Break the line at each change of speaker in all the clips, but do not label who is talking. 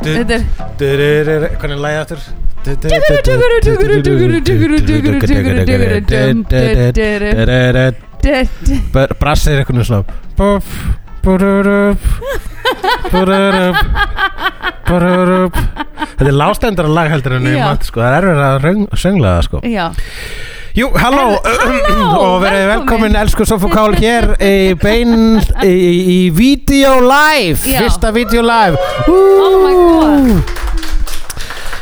þetta er
Dururur, Hvernig er lagið aftur? Dururur. Br- Brassið er eitthvað svona Búf, búrurup Búrurup Búrurup Þetta er lástendara lag heldur en
Já.
ég mat sko. Það er verið að röng- söngla það sko
Já,
Jú, halló,
halló,
og
velkomin.
verið velkomin elsku Sofokál hér í bein í, í, í Video Live,
Já.
fyrsta Video Live
Oh my God.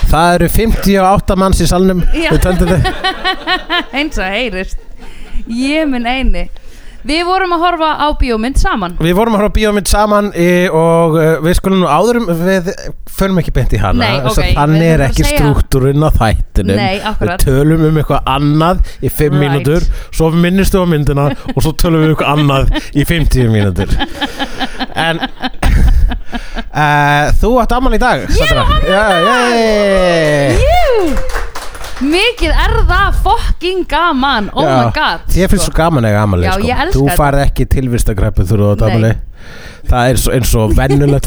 Það eru 58 manns í salnum
Já.
Við töldum þau
eins og heyrist Ég minn eini Við vorum að horfa á bíómynd saman
Við vorum að horfa á bíómynd saman e, og e, við skulum nú áðurum, við förum ekki beint í hana
Nei,
þess að
ok,
Þannig
við
er
erum bara
ekki
að segja-
struktúrin á þættinum
Nei, akkurat.
Við tölum um eitthvað annað í 5
Right.
mínútur Svo minnist við á myndina og svo tölum við um eitthvað annað í 50 mínútur En e, þú átt afmæli í dag Ég
á afmæli í
dag
Jú Mikið er það fucking gaman Oh my god
Ég finnst svo gaman að eiga afmæli
Já,
sko.
ég elska
Þú
þetta.
farið ekki tilvistakreppu þú
Nei.
átt afmæli Það er svo, eins og vennulegt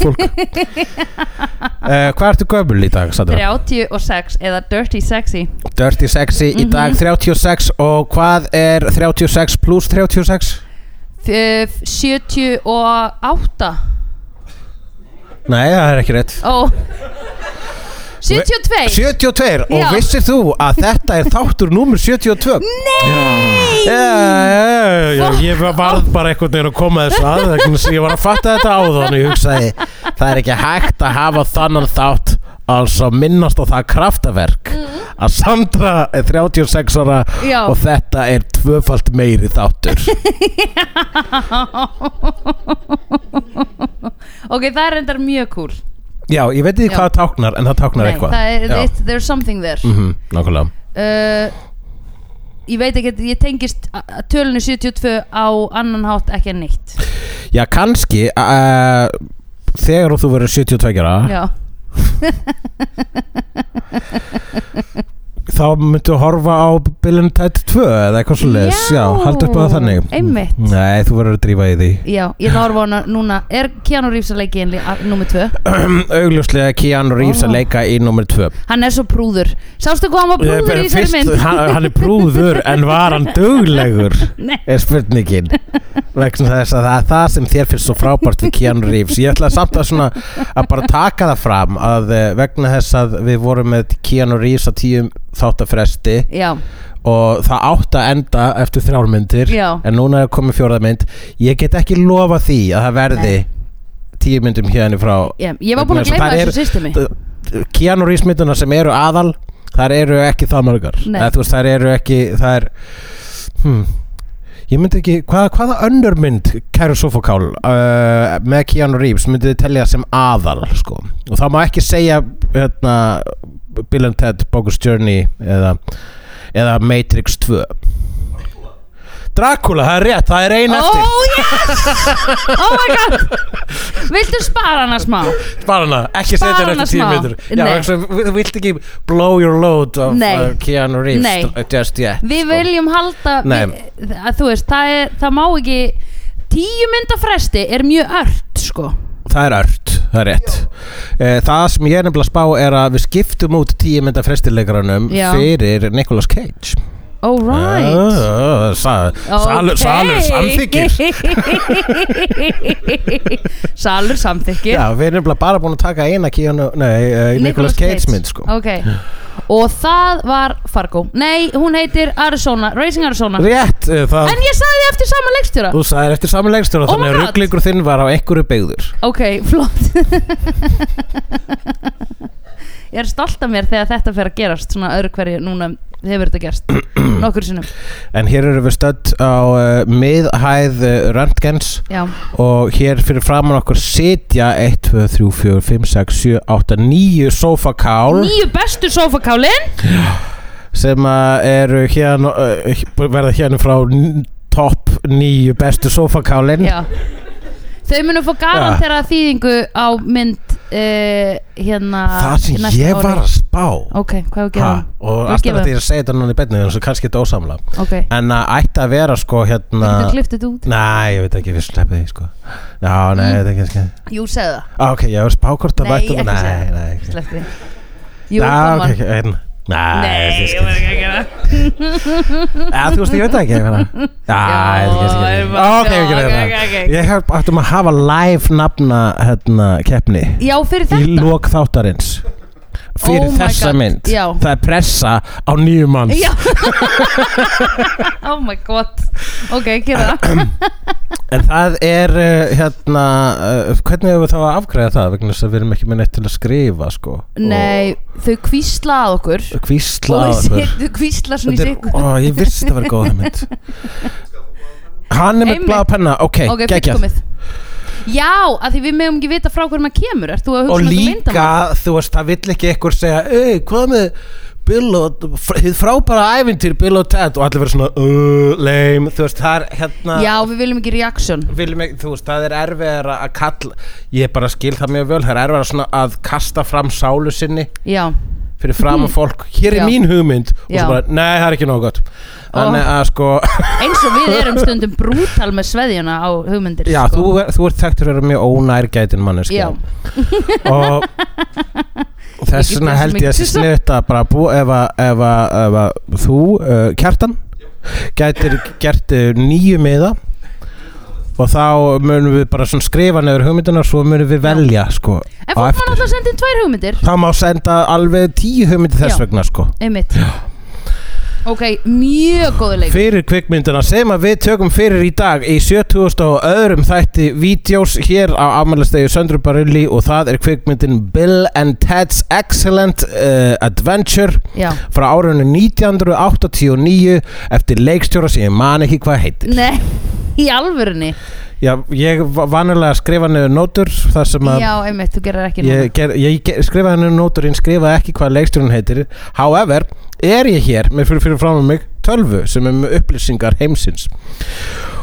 fólk uh, Hvað ertu gömul í dag, Sandra?
36 eða Dirty Sexy
Dirty Sexy í
Mhm.
dag 36 og hvað er 36 pluss 36?
Þ- 78
Nei, það er ekki rétt
Ó 72
72
Já.
og vissir þú að þetta er þáttur númur 72
Nei
yeah, yeah, Ég varð bara einhvern veginn að koma þessu að vegna þess að Ég var að fatta þetta áðan og Ég hugsaði það er ekki hægt að hafa þannan þátt alls að minnast á það kraftaverk að Sandra er 36 ára
Mhm. Já.
og þetta er tvöfalt meiri þáttur
Ok, það er endar mjög cool
Já, ég veit ekki
Já.
hvað það táknar en það táknar
Nei,
eitthvað
það er,
Já.
it, there's something there
Mhm, Nákvæmlega
uh, Ég veit ekki, ég tengist a- a- tölunni 72 á annan hátt ekki en neitt
Já, kannski uh, þegar þú verður 72 ára
Já,
þá myndu að horfa á Bill and Ted 2 eða eitthvað svo leis
Já,
já, haldu upp á það þannig
einmitt.
nei, þú verður að drífa í því
já, ég ætla að horfa á hana núna Er Keanu Reeves að leiki enli, nummer 2?
augljóslega Keanu Reeves að leika í nummer 2
Hann er svo prúður Sástu hvað hann var
Eh,
prúður í þessari
fyrst,
mynd?
hann, hann er brúður en var hann duglegur
Nei.
er spurningin vegna þess að það er það sem þér finnst svo frábært við Keanu Reeves ég ætla samt að svona að bara taka það fram að eh, vegna þess að við vorum með Keanu Reeves á tíum þáttafresti
Já,
og það átt að enda eftir þrjármyndir
Já.
en núna er komið fjórðarmynd ég get ekki lofa því að það verði
Nei.
tíu myndum hérna frá
já, ég var búin að gleyma
Það er-
þessu systemi
Keanu Reeves mynduna sem eru aðal þar eru ekki það margar
Nei.
Eða, þú veist, þar eru ekki það er hmm, ég myndi ekki hvað, hvaða önnur mynd kæru Sofokál uh, með Keanu Reeves myndið þið telja sem aðal sko. og það má ekki segja hérna, Bill and Ted, Bogus Journey eða, eða Matrix 2 Dracula, það er rétt, það er ein eftir
Oh yes! Oh my god Viltu spara hana smá?
Spara hana, ekki
Spara
setja hana
hana
eftir tíu
smá.
myndur Já,
Nei.
vegna þess að þú vilt ekki blow your load of
Nei.
uh, Keanu Reeves
Nei.
uh, just yet
Við
sko.
viljum halda
Nei.
við, að, Þú veist, það, er, það má ekki Tíu mynda fresti er mjög ört sko.
Það er ört, það er rétt uh, Það sem ég er nefnilega að spá er að við skiptum út tíu mynda frestileikaranum
Já.
fyrir Nicolas Cage
Oh right
uh, sa, salur, salur samþykir
samþykir Salur samþykir
Já, við erum nefnilega bara búin að taka eina Keanu, nei, uh, Nicolas Cage mynd sko
Ok Og það var Fargo Nei, hún heitir Arizona Racing Arizona
Rétt, uh, það,
En ég sagði eftir sama leikstjóra
þú sagðir eftir samanlegstur og
Oh my
þannig að
God.
rugglingur þinn var á einhverju byggður
Ok, flott Ég er stolt af mér þegar þetta fer að gerast Svona öðru hverju núna hefur þetta gerst Nokkur sinnum
En hér eru við stödd á uh, miðhæð uh, Röntgens
Já,
og hér fyrir framann okkur sitja 1, 2, 3, 4, 5, 6, 7, 8, 9 sofakál
nýju bestu sofakálin
sem uh, eru hérna, uh, verða hérna frá n- topp 9 bestu sofakálin
Já Þau munum fá garantera þýðingu á mynd uh, hérna
það sem
næsta
ég
ári.
var að spá
Ok, hvað við
ha,
gerum?
og
Þú
alltaf
gefur.
þetta ég er að segja þetta núna í beinni þannig að kannski þetta ósamla
Ok,
en að ætti að vera sko
þú
hérna
getur kliftið út
Nei, ég veit ekki, við sleppið því sko Já, nei,
Mm.
ég veit ekki kannski
Jú, segðu það
ah, Ok, ég var að spá hvort að
Nei,
vættu
ekki
Nei,
segja.
nei, ekki
Sleppti Jú,
Já,
kom
ok,
hann
ok, hérna. Nei,
Nei,
ég
ég var ekki að gera
Já, Ah, þú veist, ég veit það ekki hérna. Já,
Já,
ég veit
ég
ekki kannski
bara-
Ah, Ok,
já,
ok,
ok,
ok,
ok,
ok
ok.
Ég hef áttum að hafa live nafna hérna, keppni
Já, fyrir
í
þetta
lok þáttarins fyrir
Oh my
þessa
God,
mynd
já.
það er pressa á nýju manns
Já Oh my god Ok, gera það
en það er uh, hérna uh, hvernig hefur við þá að afgræða það vegna þess að við erum ekki með neitt til að skrifa sko,
Nei, þau kvísla að okkur
og kvísla
Og
að
þau
okkur.
sit- þau kvísla svona í
Þetta
sig
er- ó, ég vissi þetta verið góð hugmynd hann er með
Einmitt.
bláa penna ok,
Ok,
geggjað
fullkomið Já, af því við megum ekki vita frá hvernig maður kemur Ert þú að hugsa
og
um þetta
líka,
leyndarmál?
þú veist, það vill ekki einhver segja, ei, hvað með Bill og, fr- hið frábæra ævintýr Bill og Ted og allir verið svona uh, lame, þú veist, það er hérna
Já, við viljum ekki reaction
viljum ekki, þú veist, það er erfiðar að kalla, ég bara skil það mjög vel það er erfiðar svona að kasta fram sálu sinni
Já,
fyrir fram að fólk hér er
Já.
mín hugmynd og
Já.
svo bara, nei, það er ekki nóg gott þannig að sko,
eins og við erum stundum brútal með sveðjuna á hugmyndir
já,
sko.
þú, er, þú ert þekktur að vera mjög ónærgætin manneskja
Já.
og þess
Ég get
vegna
þessu
held ég að sé
mikið.
sniðt að bara bú, ef að, ef að, ef að þú, uh, Kjartan gætir gert uh, nýju miða og þá munum við bara svona skrifa nefnir hugmyndunar svo munum við velja sko
En fólk
á
má
eftir.
náttúrulega senda inn tvær hugmyndir
það má senda alveg tíu hugmyndi þess
Já.
vegna sko
Einmitt Ok, mjög góðu leik
fyrir kvikmynduna sem að við tökum fyrir í dag í 70 og öðrum þætti vídeos hér á afmælistegi Söndru Barilli og það er kvikmyndin Bill and Ted's Excellent uh, Adventure
Já
frá árunni 1989 eftir leikstjóra sem ég man ekki hvað heitir
Nei, í alvörunni
Já, ég va- vanalega skrifa niður nótur þar sem að
Já, einmitt, þú gerir ekki
ég, ger, ég ger, skrifaði henni nótur en skrifaði ekki hvað leikstjórun heitir however, er ég hér með fyrir, fyrir fram mig tölvu sem er með upplýsingar heimsins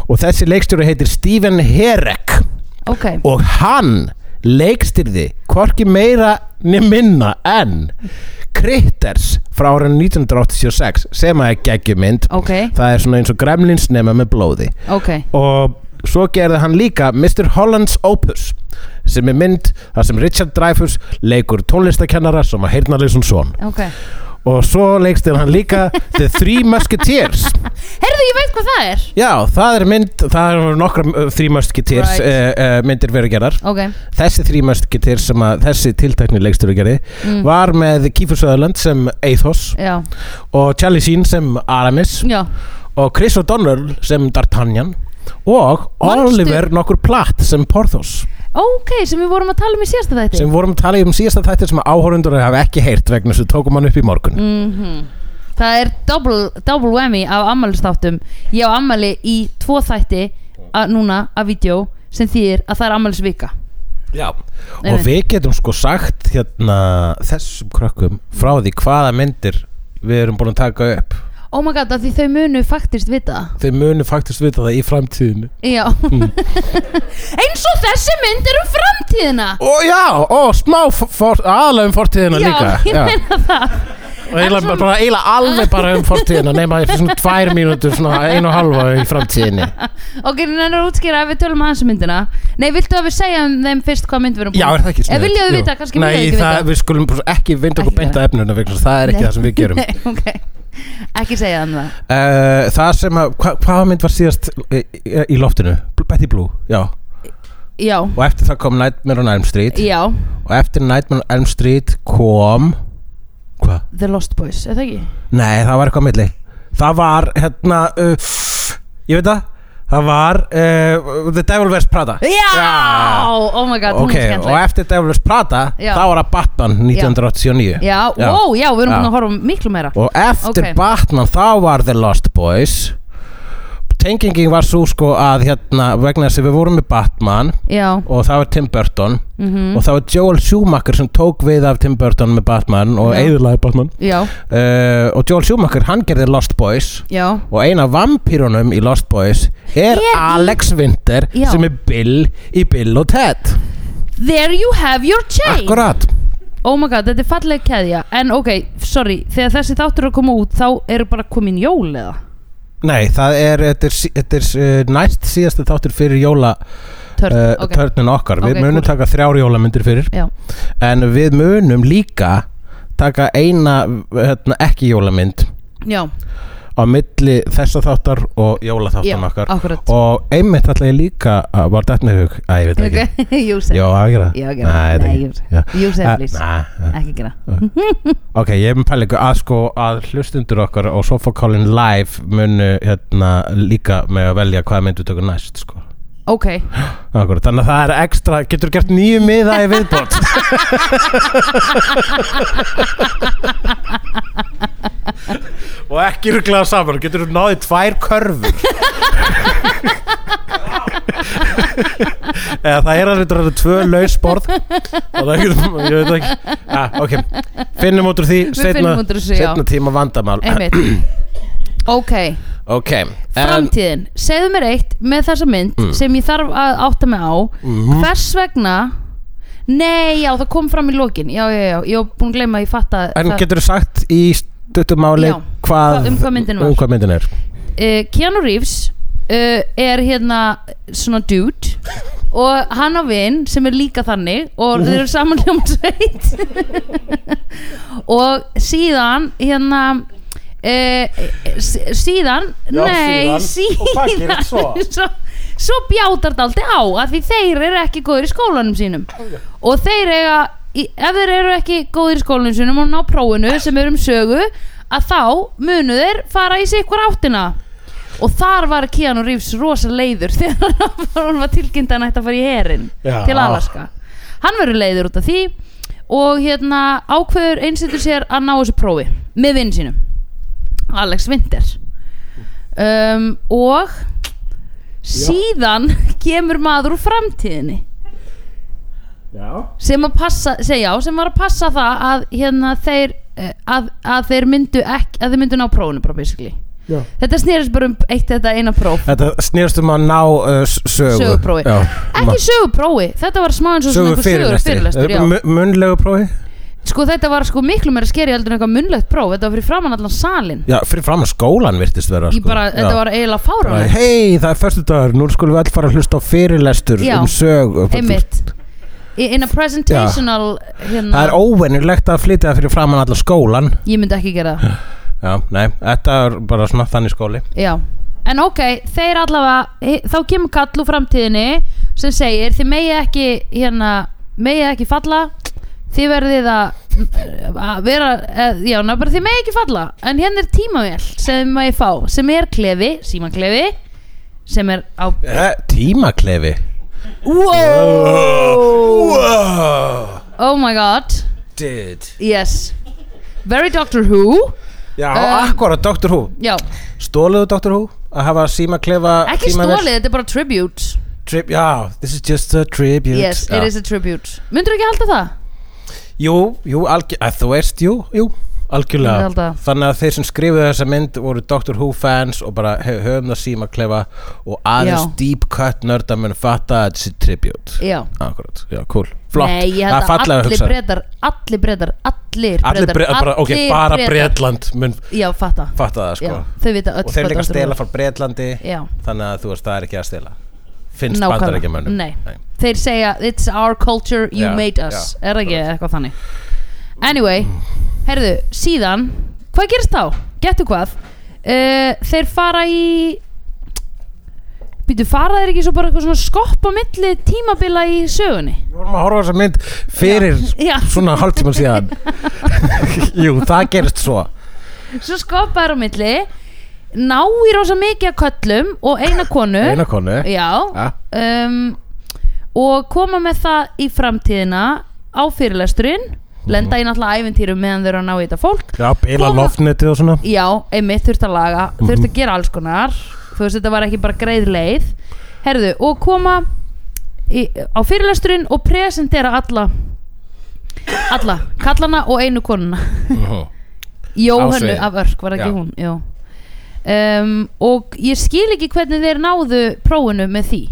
og þessi leikstjóri heitir Stephen Herek
núna Ok,
og hann leikstyrði hvorki meira niður minna en Critters frá árið 1986 sem að er geggjumynd
ok,
það er svona eins og gremlins nema með blóði
ok
og svo gerði hann líka Mr. Holland's Opus sem er mynd þar sem Richard Dreyfuss leikur tónlistakennara sem að heyrnarleysun son
Ok,
og svo leikstir hann líka The Three Musketeers
heyrðu ég veit hvað það er
já, það er mynd, það er nokkra uh, Three Musketeers
Right.
right. myndir verið gerðar
Ok,
þessi Three Musketeers sem að þessi tiltækni leikstur gerði
Mm.
var með Kiefer Sutherland sem Athos
já,
og Charlie Sheen sem Aramis
já
og Chris O'Donnell sem D'Artagnan og
Manstu-
Oliver nokkur Platt sem Porthos
Ok, sem við vorum að tala um í síðasta þætti
sem vorum að tala um síðasta þættir sem áhórundur hafa ekki heyrt vegna þess að við tókum hann upp í morgun
Mhm. Það er double, double whammy af ammælistáttum Ég á ammæli í tvo þætti að, núna að vídeo sem þýðir að það er ammælisvika
Já. og
Einmitt.
við getum sko sagt hérna þessum krökkum frá því hvaða myndir við erum búin að taka upp
Oh my god, af því þau munu faktist vita það.
þeir munu faktist vita það í framtíðinu
Já Eins og þessi mynd er um framtíðina
og já, og smá for- for- aðalega um fortíðina
Já,
líka
ég meina það
og eiginlega
En svona-
bara, eiginlega alveg bara um fortíðina nema eftir svona tvær mínútur svona einu og halva í framtíðinni
Ok, en hann er að útskýra ef við tölum aðeins um myndina Nei, viltu að við segja um þeim fyrst hvað mynd við erum
Já, er það ekki
Ef vilja þau
Jú.
vita, kannski
Nei,
vilja þau ekki
það,
vita
við skulum bara ekki vinda okkur
Ekki
beint að efnuna vegna þess að það er ekki
Nei.
það sem við gerum
Nei, ok Ekki segja um það
uh, Það sem að, hva, hvaða mynd var síðast í, í- í loftinu? Bl- Betty Blue, já
Já,
Og eftir það kom Nightmare on Elm Street
já,
Og eftir Nightmare on Elm Street kom Hvað?
The Lost Boys, er það ekki?
Nei, það var eitthvað á milli Það var, hérna, uh, ég veit það Það var uh, The Devil Wears Prada
Já, oh my god,
Ok,
hún er
og
skemmtileg
eftir Devil Wears Prada
Já.
Þá var að Batman 1989
Já, ó, já, við erum
Já.
búin að horfa um miklu meira
Og eftir
Ok.
Batman þá var The Lost Boys tengingin var svo sko að hérna vegna þess að við vorum með Batman
já,
og það var Tim Burton
mhm,
og það var Joel Schumacher sem tók við af Tim Burton með Batman og
Já.
eðurlaði Batman
já,
uh, og Joel Schumacher hann gerði Lost Boys
já
og eina vampýrunum í Lost Boys er
Ég-
Alex Winter
Já.
sem er Bill í Bill og Ted
There you have your chain
Akkurat
Oh my god, þetta er falleg keðja En ok, sorry, þegar þessi þáttur er að koma út þá eru bara komin jól eða
Nei, það er, þetta er, sí- þetta er uh, næst síðasta þáttur fyrir jóla
Törn,
uh,
ok
törnin okkar
Ok,
Við munum
cool.
taka þrjár jólamyndir fyrir
Já,
En við munum líka taka eina hérna, ekki jólamynd
já,
á milli þessa þáttar og
já,
jólaþáttan okkar
akkurat
Og einmitt ætla ég líka að var þetta með hug Æ, ég veit það ekki
Ok, you say
Jó, að gera
Já, gera.
Nei, þetta
Nei,
ekki.
you say.
Já.
You say,
Eh,
please.
Nei,
Ekki gera
Ok, ég er með pælingu að sko að hlustundur okkar og Sofakálin live munu hérna líka með að velja hvað myndu tökur næst sko
Ok,
Akkur, þannig að það er ekstra, getur gert nýju miða í viðbót Og ekki rugglega saman, getur þú náðið tvær körfur Eða það er að þetta eru tvö laus borð Og það getur, ég veit ekki ja, Ok, finnum út úr því, setna,
finnum út úr þessu, já.
setna tíma vandamál
einmitt Ok,
Ok, en, Mm.
framtíðin Segðu mér eitt með þessa mynd sem ég þarf að átta mig á
Mhm.
Hvers vegna Nei, já, það kom fram í lokin Já, já, já, ég var búin að gleyma að ég fatta
en
það-
getur þú sagt í stuttumáli
Já,
hvað,
um hvað myndin var.
um hvað myndin er
uh, Keanu Reeves uh, er hérna svona dude og hann á vinn sem er líka þannig og þeir eru saman hljómsveit og síðan hérna uh, síðan
Já,
nei,
síðan. Og hvað gerist svo?
svo, svo bjátar það aldrei á að því þeir eru ekki góðir í skólanum sínum og þeir eiga í- ef þeir eru ekki góðir í skólanum sínum og ná prófinu sem eru um sögu að þá munu þeir fara í sikkur áttina og þar var Keanu Reeves rosa leiður þegar hann var tilkynnt að hann ætti að fara í herin
Já.
til Alaska hann verður leiður út af því og hérna ákveður einsettur sér að ná þessu prófi með vinn sínum Alex Winter um, og síðan kemur maður úr framtíðinni
Já
sem að passa, segja á, sem var að passa það að hérna þeir eh, að, að þeir myndu ekki, að þeir myndu ná prófunu bara basically.
Já.
Þetta snerist bara um eitt þetta eina próf,
Þetta snýrst um að ná uh, s- sögu
söguprófi
Já. Ma-
ekki söguprófi, þetta var smá eins og svona
sögu
einhver
fyrirlestri
sögufyrirlestur, já.
Mu- Munnlegu prófi
sko þetta var sko miklu meira skeri heldur en eitthvað munnlegt próf, þetta var fyrir framann allan salin,
Já, fyrir fram að skólan virtist vera
ég
sko.
bara, þetta
Já.
var eiginlega fáránlegt
Hei, það er förstu dagur, nú skulum við öll fara að hlusta á fyrirlestur
Já.
um sögu
einmitt Í- in a presentational
Það er
hérna,
óvenjulegt að flytja það fyrir framan allar skólan
ég myndi ekki gera það
Já, nei, þetta er bara svona þannig skóli
já. en ok, þeir allavega hi- þá kemur kall úr framtíðinni sem segir þið megið ekki hérna, megið ekki falla þið verðið að að vera, eð, já, ná bara þið megið ekki falla en hérna er tímavél sem maður fá, sem er klefi, símaklefi sem er á
eh, Tímaklefi
wow,
Wow
oh my god
Dude
yes, very Doctor Who
Já,
Um,
akkurat, Dr. Who
já,
Stóluðu Dr. Who að hafa símaklefa
ekki
tímavél?
stólið, þetta er bara tribute
Trip, já, this is just a tribute
Yes,
já.
it is a tribute Myndur ekki halda það?
Jú, jú, algjör, að þú veist, jú, jú
Ég
Algjörlega
held að-
Þannig að þeir sem skrifuðu þessa mynd voru Doctor Who fans og bara hef, höfum það síma klefa og aðeins
Já.
deep cut nörda mun fatta að þetta er tribute
Já
Akkurat, já, cool, flott
Nei, ég
Það er
held að
fallega
allir
hugsað.
breytar Allir breytar, allir breytar
Allir breytar, bara, ok, bara Bretland mun
Já, fatta
fatta það, sko
Já, Þau vita öll
Og þeir
hvað
líka
Dr.
stela
Who
frá Bretlandi
er. Já,
Þannig að þú veist, það er ekki að stela Finnst
Nákvæmlega.
bandar ekki mönnum
Nei. þeir segja It's our culture, you
Já,
made us
já,
Er það ekki eitthvað þannig Anyway, herðu, síðan Hvað gerist þá? Gettu hvað? Uh, þeir fara í Býtu, fara þeir ekki svo bara eitthvað svona skopp á milli tímabila í sögunni?
Við vorum að horfa á þessa mynd fyrir
Já.
svona hálftíma síðan Jú, það gerist svo
svo skoppaður á milli ná í rosa mikið að köllum og eina konu
Eina konu
já,
Ja.
um, og koma með það í framtíðina á fyrirlesturinn lenda í náttúrulega æventýrum meðan þau eru að ná í þetta fólk
Mhm. Já, Mhm. bila
Koma-
loftnetið og svona
já, einmitt þurft að laga þurft að gera alls konar þú veist þetta var ekki bara greið leið herðu og koma í, á fyrirlesturinn og presentera alla alla, kallana og einu konuna
Mhm.
Jóhannu
sviði.
af Örk var ekki
Já.
hún já. Um, og ég skil ekki hvernig þeir náðu prófinu með því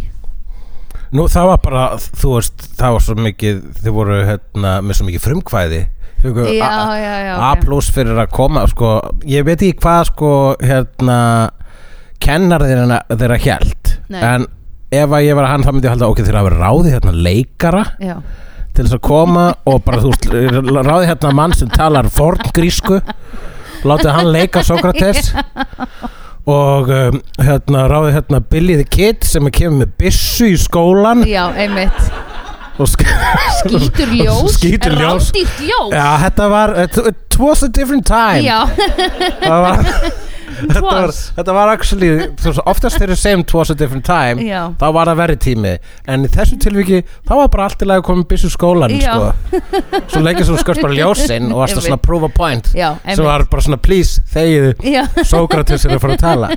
Nú það var bara, þú veist, það var svo mikið, þið voru hérna með svo mikið frumkvæði Fengu
Já,
A-
já, já,
A
ok.
plus fyrir að koma, sko, ég veit ekki hvað, sko, hérna, kennar þeirra, þeirra hjælt
Nei.
En ef að ég var að hann, þá myndi ég halda, ok, þeirra hafa ráði hérna leikara
já,
Til þess að koma og bara, þú veist, ráði hérna mann sem talar forngrísku Látið hann leika Sokrates Og um, hérna, ráði hérna Billy the Kid sem kemur með byssu í skólan
já einmitt
og sk
skýtur ljós
Skítur ljós
rándýrt ljós
Já, þetta var, it, it was a different time
já,
Það var, þetta, var,
was.
þetta var actually, þú veist, oftast þeir eru sem it was a different time
Já.
þá var það verri tími en í þessu tilviki, þá var bara allt í lagi að koma byssu skólan,
Já.
sko svo leikir svo skörst bara ljósin og varst að svona
Einmitt.
prove a point
já,
sem
einmitt
var bara svona please, þegiðu
já,
Sókrates er að fara að tala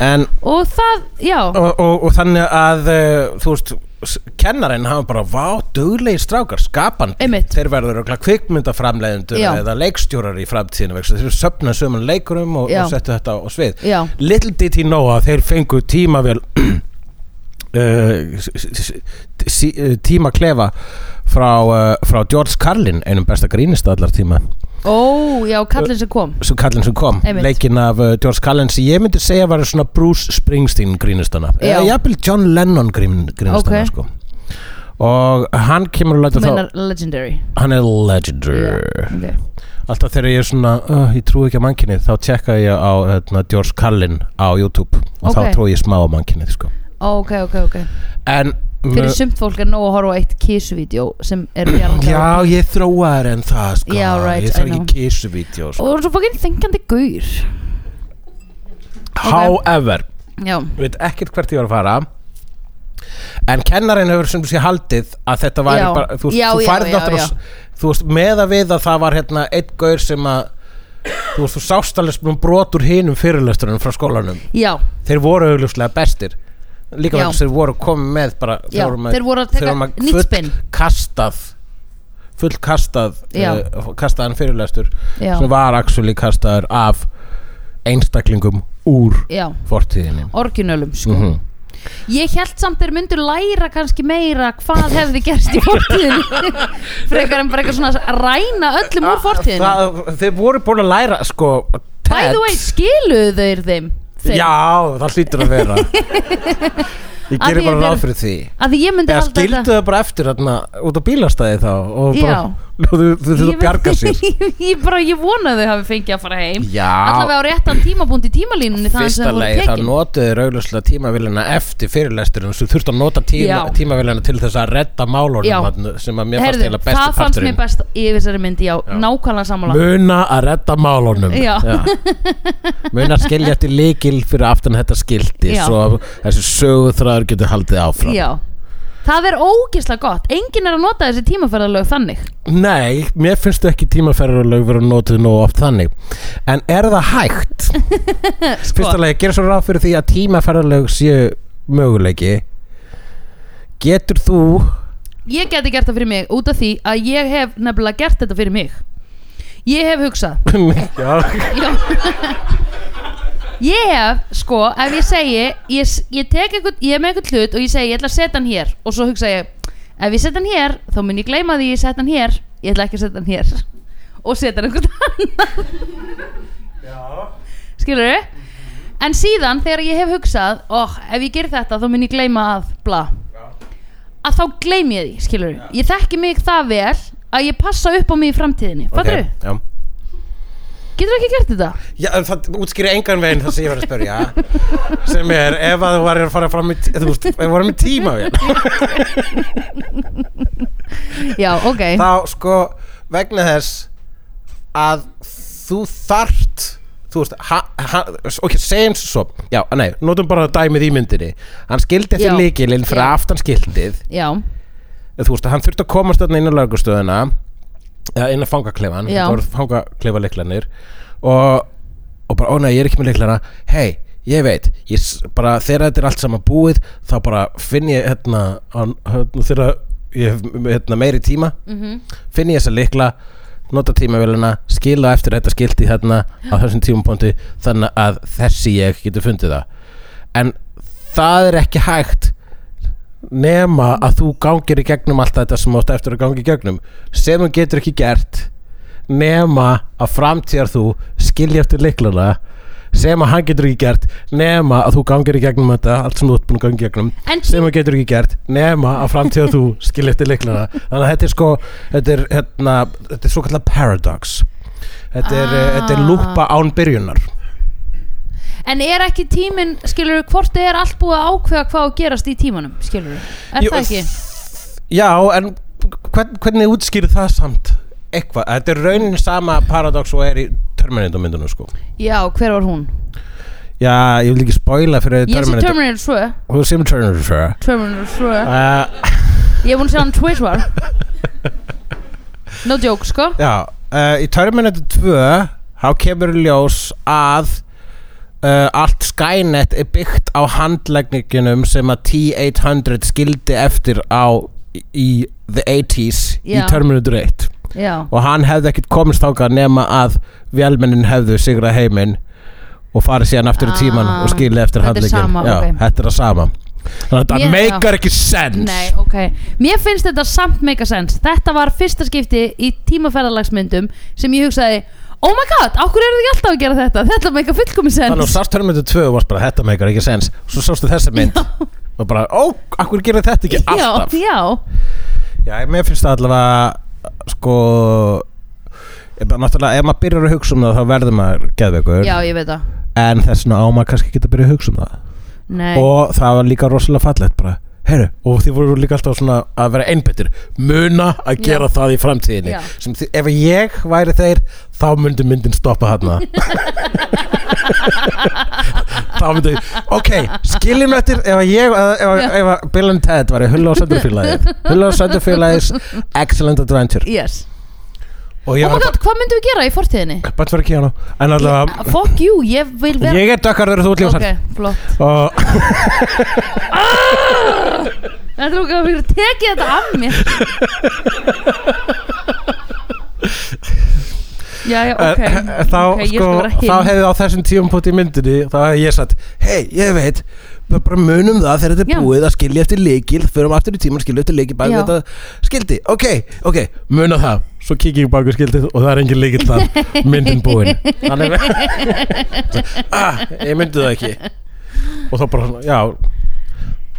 en
og það, já
og, og, og þannig að uh, þú veist, s- kennarinn hafa bara vá, duglegi strákar, skapandi
Einmitt.
þeir verður örugglega kvikmyndaframleiðendur
Já.
eða leikstjórar í framtíðinu vegna þess að þeir söfna sömum leikurum og,
Já.
og settu þetta á svið
Já.
Little did he know að þeir fengu tímavél uh, s- s- sí- uh, tímaklefa frá, uh, frá George Carlin einum besta grínist allar tíma
Ó, já, kallin sem kom
sem kallin sem kom,
Einmitt.
leikinn af uh, George Cullen sem ég myndi segja var svona Bruce Springsteen grínistana,
Já.
eða jafnvel John Lennon grín, grínistana
Ok.
sko. og hann kemur
Þú
og lætur þá,
meinar legendary
hann er legendary
okay.
alltaf þegar ég er svona, uh, ég trúi ekki á mannkynið þá tjekka ég á hérna, George Cullen á YouTube og
Ok.
þá trúi ég smá á mannkynið sko.
ok, ok, ok
en
Fyrir sumt fólk er nóg að horfa á eitt kísuvídjó sem er bjargar
Já, ég þróaður en það sko
Já, right,
Ég
I
þarf
know.
ekki kísuvídeó sko.
Og svo fokkin þengandi gaur
However,
Já,
veit ekkert hvert ég var að fara en kennarinn hefur sem sé haldið að þetta væri
Já.
bara þú, veist,
Já,
þú
já,
færði
já,
náttúrulega
já.
þú veist með að við að það var hérna einn gaur sem að þú veist þú sást alveg sem brot úr hinum fyrirlesturinn frá skólanum
já,
þeir voru augljóslega bestir líka
Já.
vegna þess að þeir voru komið með bara
Já,
með,
þeir voru að taka nýtt spinn.
kastað full kastað
Já.
uh, kastaðan fyrirlestur
Já.
sem var actually kastaður af einstaklingum úr
já
fortíðinni
Orginölum, sko
Mhm.
Ég held samt þeir myndu læra kannski meira hvað hefði gerst í fortíðinni Frekar en bara eitthvað svona að ræna öllum úr fortíðinni
Ah, það, Þeir voru búin að læra sko
By the way, skiluðu þeir þeim? þeim?
Já, það hlýtur að vera Ég
Af því
gerir bara
að þeir-
ráð fyrir því
Að því ég myndi
Eða
halda
skildu það bara eftir þarna út á bílastæði þá og bara,
Já.
þú þurftu
Ég
að
veit-
bjarga sér
ég bara, ég vona að þau hafi fengið að fara heim
Já,
allavega á réttan tímabúnd í tímalínunni þaðan sem
fyrsta
þau voru
leið þá
tekin.
notuðu rauglöslega tímavilina eftir fyrirlesturinn þú þurftu að nota tíma,
Já.
tímavilina til þess að redda málunum
Já.
þarna, sem að mér fannst
Herðu,
eiginlega
það
besti
fannst mér
parturinn
best í þessari myndi, já, nákvæmlega sammála
Muna að redda málunum
Já.
Muna að skilja eftir líkil fyrir aftan þetta skildi
Já.
Svo að þessi söguþræður getur haldið áfram
já. það er ógeðslega gott enginn er að nota þessi tímaferðalög þannig
Nei, mér finnst ekki tímaferðarlög verið notið nóg oft þannig En er það hægt? Fyrsta
Sko-
lagi, gera svo ráð fyrir því að tímaferðarlög séu möguleiki Getur þú
ég geti gert það fyrir mig út af því að ég hef nefnilega gert þetta fyrir mig ég hef hugsað
Já,
Já. ég hef, sko, ef ég segi ég, s- ég tek einhvern, ég er með einhvern hlut og ég segi ég ætla að setja hann hér og svo hugsa ég, ef ég setja hann hér þá mun ég gleyma því ég setja hann hér ég ætla ekki að setja hann hér og setja hann einhvern annan skilur en síðan þegar ég hef hugsað oh, ef ég ger þetta þá mun ég gleyma að bla að þá gleym ég því, skilur ég þekki mig það vel að ég passa upp á mig í framtíðinni, fattur
Ok, Já
getur ekki gert þetta?
Já, en það útskýri engan veginn það sem ég var að spörja sem er ef að þú varir að fara fram í t- þú veist, ef þú varir með tíma
já, ok
þá sko vegna þess að þú þart þú veist, ha, ha, ok, segjum sem svo já, nei, notum bara dæmið í myndinni hann skildi
Já.
eftir líkilinn fyrir
Já.
aftan skildið
Já,
þú veist, hann þurfti að komast þarna inn á laugustöðuna eða inn að fangaklefan
Já.
það voru fangaklefa liklanir og, og bara, ó nei, ég er ekki með liklana hei, ég veit, ég s- bara þegar þetta er allt saman búið þá bara finn ég hérna, á- hérna þegar ég hef hérna, meiri tíma finn ég þessa likla nota tímavelina, skila eftir þetta skilti þarna á þessum tímapunkti þannig að þessi ég getur fundið það en það er ekki hægt nema að þú gangir í gegnum allt þetta sem átt eftir að gangi í gegnum sem þú getur ekki gert nema að framtíðar þú skilja eftir liklana sem að hann getur ekki gert nema að þú gangir í gegnum þetta allt sem þú ert búin að gangi í gegnum
En-
sem þú getur ekki gert nema að framtíðar þú skilja eftir liklana þannig að þetta er sko þetta er, hérna, þetta er svo kallar paradox þetta er, ah. þetta er
Ah.
lúpa án byrjunar
En er ekki tíminn, skilur hvort er allt búið að ákveða hvað á að gerast í tímanum, skilur Er
Jú,
það ekki?
Já, en hvern, hvernig útskýrið það samt? Eitthvað, þetta er raunin sama paradox og er í Terminator myndunum sko
Já, hver var hún?
Já, ég vil ekki spoila fyrir
Ég sé
Terminator
Terminator 2
Þú sem Terminator sure.
Terminator 2
uh,
Ég er búin að sjá hann tvisvar No joke, sko
Já, uh, í Terminator 2 þá kemur í ljós að uh, allt Skynet er byggt á handlegningunum sem að T-800 skildi eftir á í- í the 80s
Já.
í Terminator 1
Já,
og hann hefði ekkert komist þáka nema að vélmennin hefðu sigrað heiminn og farið síðan aftur í tíman
Ah,
og skilið eftir
þetta er
handlegin
sama,
já,
ok.
þetta er að sama
Ég-
þannig að þetta meikar ekki sens
nei, ok Mér finnst þetta samt make a sense Þetta var fyrsta skipti í tímaferðalagsmyndum sem ég hugsaði Oh my god, okkur eru þið ekki alltaf að gera þetta? Þetta make a fullkomi
þannig að
sense
sást hörmyndu 2 og varst bara þetta meikar ekki sens svo sástu þessa mynd og bara, ó, akkur gerir þetta ekki alltaf
Já, já
já, mér finnst það allavega sko ég bara, náttúrulega, ef maður byrjar að hugsa um það þá verður maður geðveikur
Já, ég veit það
en þess vegna á maður kannski ekki að byrja að hugsa um það
Nei,
og það var líka rosalega fallegt bara Heru, og þið voru líka alltaf svona að vera einbyttir muna að gera það í framtíðinni
Já.
sem þið, ef ég væri þeir þá myndi myndin stoppa hana þá myndi ok, skiljum eftir ef að ég, ef, að- ef, ef að Bill and Ted var í Hulla og Söndurfélagið Hulla og Söndurfélagið Excellent Adventure
yes
og
Oh
ég
my
var
god, hvað myndum við gera í fortíðinni? Ah,
bara, bara fyrir að kíða hana hérna. en allavega,
Fuck you, ég vil vera
ég er dökkarður og þú er
Ok,
ljósar
flott
og
Þetta er okkur að fyrir tekið þetta af mér Já, já, ok,
Eh, þá,
Ok, ég
sko,
skal vera
þá
hinn.
hefði á þessum tíum í myndinni þá hefði ég sagt, hei, ég veit við bara munum það þegar þetta
Já.
er búið að skilja eftir leikil, förum aftur í tíman skilja eftir leikil bak
Já.
við þetta skildi, ok, ok muna það, svo kikið ég bak við skildið og það er engin leikil þar, myndin búin þannig ah, ég myndi það ekki og þá bara, svona, já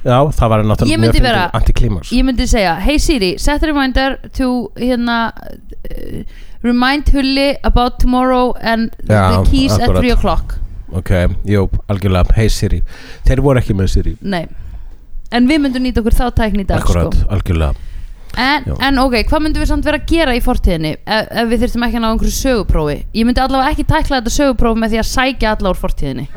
já, það var
Ég
náttúrulega
myndi
mjög
vera-
fyndið antiklimaks
Ég myndi segja, hey Siri, set a reminder to hérna uh, remind Hulli about tomorrow and
Já,
the keys
akkurat.
at 3 o'clock
ok, jú, algjörlega, hey Siri þeir voru ekki með Siri
Nei, en við myndum nýta okkur þá tækni í dag
Akkurat,
sko.
algjörlega
en,
Já.
en ok, hvað myndum við samt vera að gera í fortíðinni ef, ef við þyrftum ekki að ná einhverju söguprófi Ég myndi allavega ekki tækla þetta söguprófi með því að sækja alla úr fortíðinni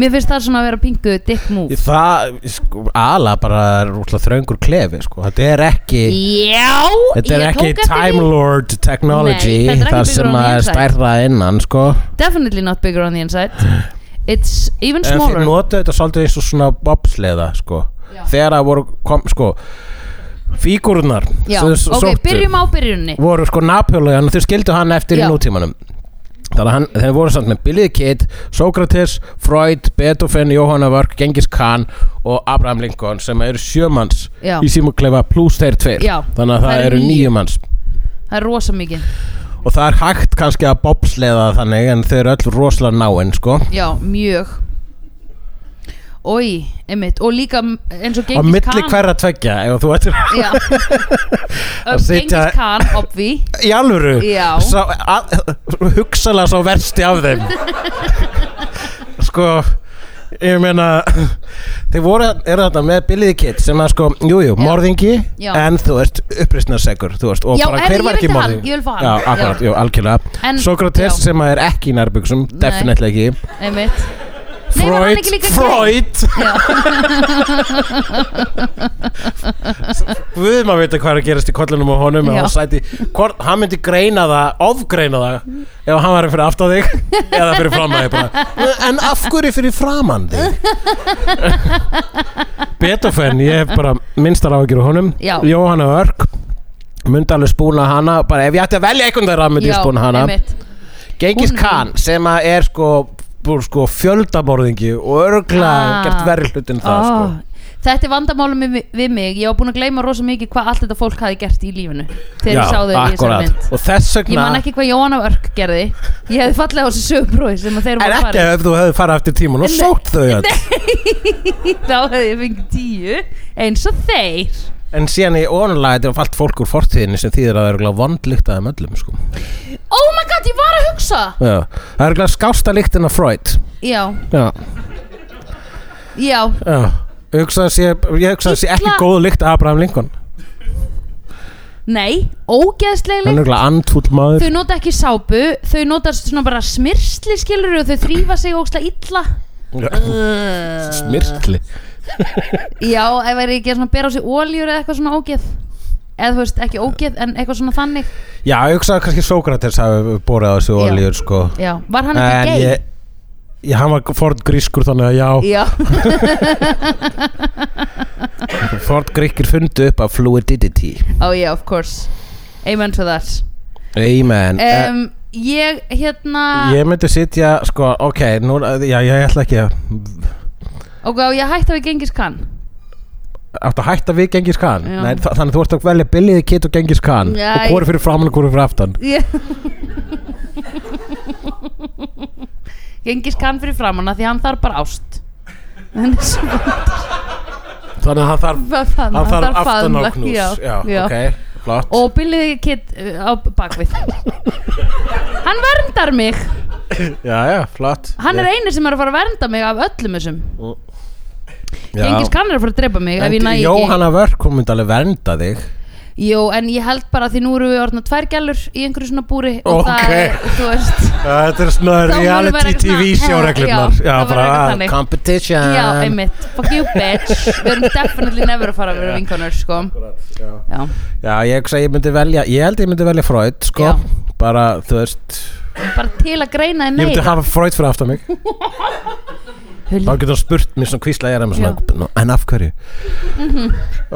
Mér finnst það svona að vera pingu dick move
Það, sko, ala bara er rúslega þröngur klefi, sko Þetta er ekki,
Já,
þetta er
ég
ekki
tók eftir
Time
því
Lord technology
Nei, þetta er ekki
þar
byggur á
sem að
nýjum
er
sæt.
stærra innan, sko
Definitely not bigger on the inside It's even
En þeir
smaller
notu þetta svolítið eins og svona bobsleða, sko
Já.
Þegar að voru, kom, sko Fígurnar
Já,
sem þeir
ok,
sóttu
byrjum á byrjunni
Voru sko Napoleon og þau skildu hann eftir
Já.
í nútímanum Þannig að hann, þeir voru samt með Billy the Kid, Sókrates, Freud, Beethoven, Jóhanna Vörk, Genghis Khan og Abraham Lincoln sem eru sjömanns
Já,
í símaklefa pluss þeir tveir
Já,
þannig að það,
það eru
eru
níu.
nýju manns
það er rosa mikið
og það er hægt kannski að bobsleða það þannig en þau eru öll rosalega náinn sko.
Já, mjög Ói, einmitt Og líka m- eins og
á
Gengis
milli hverra tveggja ef þú ættir
Já
Að
Gengis
sitja-
Khan, obvi
í alvöru
Já.
sá, að, hugsalega sá versti af þeim sko ég meina þeir voru, eru þetta með Billy the Kid sem að sko, jújú, jú, morðingi
Já.
en þú ert uppreisnarsegur þú veist, og
Já,
bara
heyrðu,
hver
ég
var ekki
vildi hann,
morðingi
ég vil fá hann.
já,
Já.
akkurat, jú, algjörlega
En-
Sókrates
já.
sem að er ekki í nærbuxum, definitely ekki
Einmitt Nei, var hann
Freud,
ekki líka gay?
Freud
Já.
Guð maður veit hvað er að gerast í kollinum og honum
Já.
og sæti, hvort, hann myndi greina það ofgreina það ef hann væri fyrir aftan þig eða fyrir framan þig bara. en af hverju fyrir framan þig Beethoven ég hef bara minnstar ágjur á honum
Já.
Jóhanna Örk myndi alveg spúna hana bara ef ég ætti að velja einhvern þeirra myndi
Já,
ég spúna hana
einmitt.
Gengis
Hún-
Khan sem að er sko, bú- sko fjöldamorðingi og örgla
Ah.
gert verri hlutin það
Ah.
sko.
Þetta er vandamálum við, við mig Ég var búin að gleyma rosa mikið hvað allt þetta fólk hafi gert í lífinu Þegar ég sá þau í þessari
akkurat.
mynd
og þess
Ég man
vegna
ekki hvað Jóhanna Örk gerði Ég hefði fallið á þessu söguprófi sem að þeir
En
voru að
ekki
fara í.
ef þú hefði farið eftir tíman og
Nei.
sótt þau öll
Þá hefði ég fengið tíu eins og þeir
En síðan í onulega þetta er allt fólk úr fortíðinni sem þýðir að það er örugglega vondlíkt af þeim öllum sko.
Oh my god, ég var að hugsa það.
Já. Það er örugglega skásta líkt en að Freud
Já,
Já,
já,
já Ég hugsa að sé, ég hugsa að sé ekki
Illa-
góð líkt af Abraham Lincoln
nei,
Hann er
ógeðslegli
örugglega andfúll maður
Þau nota ekki sápu, þau nota svona bara smyrsli skilur og þau þrýfa sig ógeðslega illa
Já, Smyrtli
Já, ef væri ekki að svona bera á sig óljur eða eitthvað svona ógeð Eða þú veist, ekki ógeð en eitthvað svona þannig
Já, ég hugsa að kannski Sókrates hafi borið á þessu
Já.
olíur sko.
Já, var hann ekki
En
gay?
ég, ég, hann var Ford grískur þannig að já,
Já,
Ford gríkir fundu upp af fluidity
oh yeah, of course Amen to that
Amen Eh,
um, Ég, hérna
Ég myndi sitja, sko, ok, núna, já, ég ætla ekki að
Og á ég hætti að við gengis kann
áttu að hætta við Gengis Khan
Já.
Nei, þa þannig að þú ert að velja Billiði Kit og Gengis Khan
Já,
og hvori fyrir framan og hvori fyrir aftan
Ég- Gengis kann fyrir framanna því hann þarf bara ást Hann er svo
þannig að hann þarf,
bara faðm-
hann þarf aftan á
faðmlag,
knús já,
já.
ok, flott
Og billið kitt á bakvið Hann verndar mig
já, já, flott Eh,
Hann er eini sem er að fara að vernda mig af öllum þessum
Já.
Gengis kann er að fara að drepa mig ef ég næ
en
ekki-
Jóhanna Vörk, hún myndi alveg vernda þig
Jó, en ég held bara því nú eru við orðna tvær gælur í einhverju svona búri og
Ok.
það er, þú veist
þetta er svona
Þá reality verður eitthvað TV svona- sjóreglurnar. Já, Já, það verður bara, eitthvað þannig.
competition
Já, einmitt, fuck you bitch Við erum definitely never að fara að vera vinkonur, sko Já,
já, ég, hugsa að ég myndi velja, ég held ég myndi velja Freud, sko,
Já.
bara, þú veist
bara til að greina þið
Ég myndi
meira
hafa Freud fyrir aftan mig Þá
Hulli.
getur hann spurt mér svona hvísla ég er að mér svona "Nú, En af hverju?
Mhm.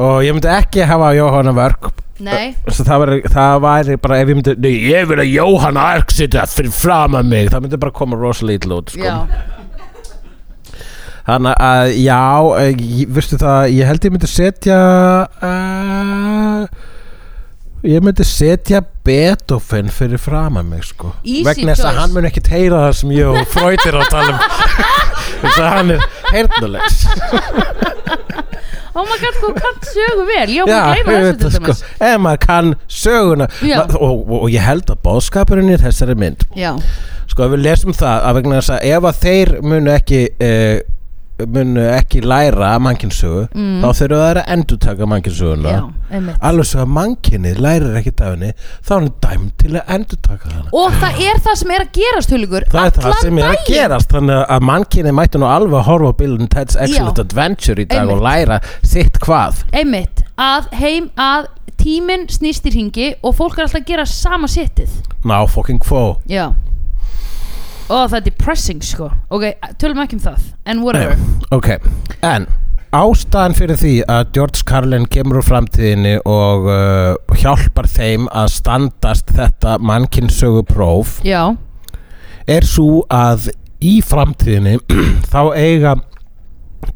Og ég myndi ekki hafa Jóhanna Vörk
Nei,
Svo það væri, það væri bara ef ég myndi Nei, ég vil að Jóhanna Vörk sitja fyrir fram að mig Það myndi bara koma rosalega ítl út sko.
já,
Þannig að já, eh, ég- veistu það Ég held ég myndi setja uh, Ég myndi setja Beethoven fyrir fram að mig sko.
Easy
vegna þess að
choice.
hann mun ekkit heyra það sem ég og Freud er að tala um þess að hann er heyrnulegs
oh my god, þú kannt sögu vel Já,
Já,
maður gleyma þessu
auðvitað,
til dæmis
sko, ef maður kann söguna
Já.
Ma- og, og, og ég held að bóðskapurinn í þessari mynd
Já,
sko ef við lesum það að vegna þess að ef að þeir munu ekki uh, munu ekki læra mannkinsögu
Mm.
þá þurfum það að endurtaka
já,
mannkinsöguna
einmitt
alveg svo að mannkinnið lærir ekki af henni þá er hann dæm til að endurtaka hana
Og það er það sem er að gerast, Hulgur
það er það sem er að gerast þannig að mannkinnið mætti nú alveg að horfa á bílun Ted's Excellent
Já.
Adventure í dag
Einmitt.
og læra sitt hvað
Einmitt, að heim, að tíminn snýst í ringi og fólk er alltaf að gera sama setið
now fucking quo
Já Ó, það er depressing sko Ok, tölum ekki um það En whatever
Ok, en ástæðan fyrir því að George Carlin kemur úr framtíðinni og uh, hjálpar þeim að standast þetta mannkinsögu próf
Já,
er svo að í framtíðinni þá eiga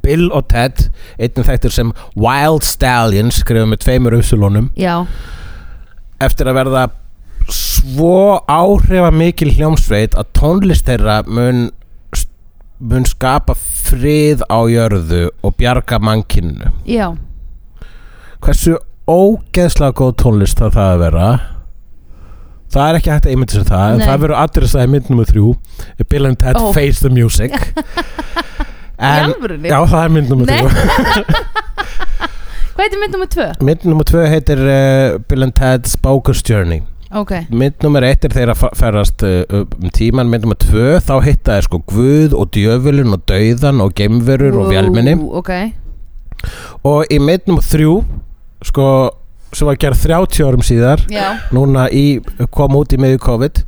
Bill og Ted einnig þekktur sem Wild Stallion skrifum með tveimur uppsilónum
já,
eftir að verða svo áhrifamikil hljómsveit að tónlist þeirra mun, mun skapa frið á jörðu og bjarga mannkinnu
já
hversu ógeðslega góð tónlist það það að vera það er ekki hægt að ímynda sér það en
Nei.
það verður adressað í mynd nummer þrjú Bill and Ted
Ó.
Face the Music en,
alvörunni?
Já, það er mynd nummer
Nei.
þrjú
Hvað heitir mynd nummer tvö?
eh, mynd nummer tvö heitir uh, Bill and Ted's Bogus Journey
ok,
mynd nummer eitt er þeirra fa- ferðast uh, um tíman, mynd nummer tvö þá hitta þeir sko Guð og djöfulun og dauðan og geimverur og vélminni
Ú, ok,
og í mynd nummer þrjú sko sem var gerð 30 árum síðar
já
núna í, kom út í miðju COVID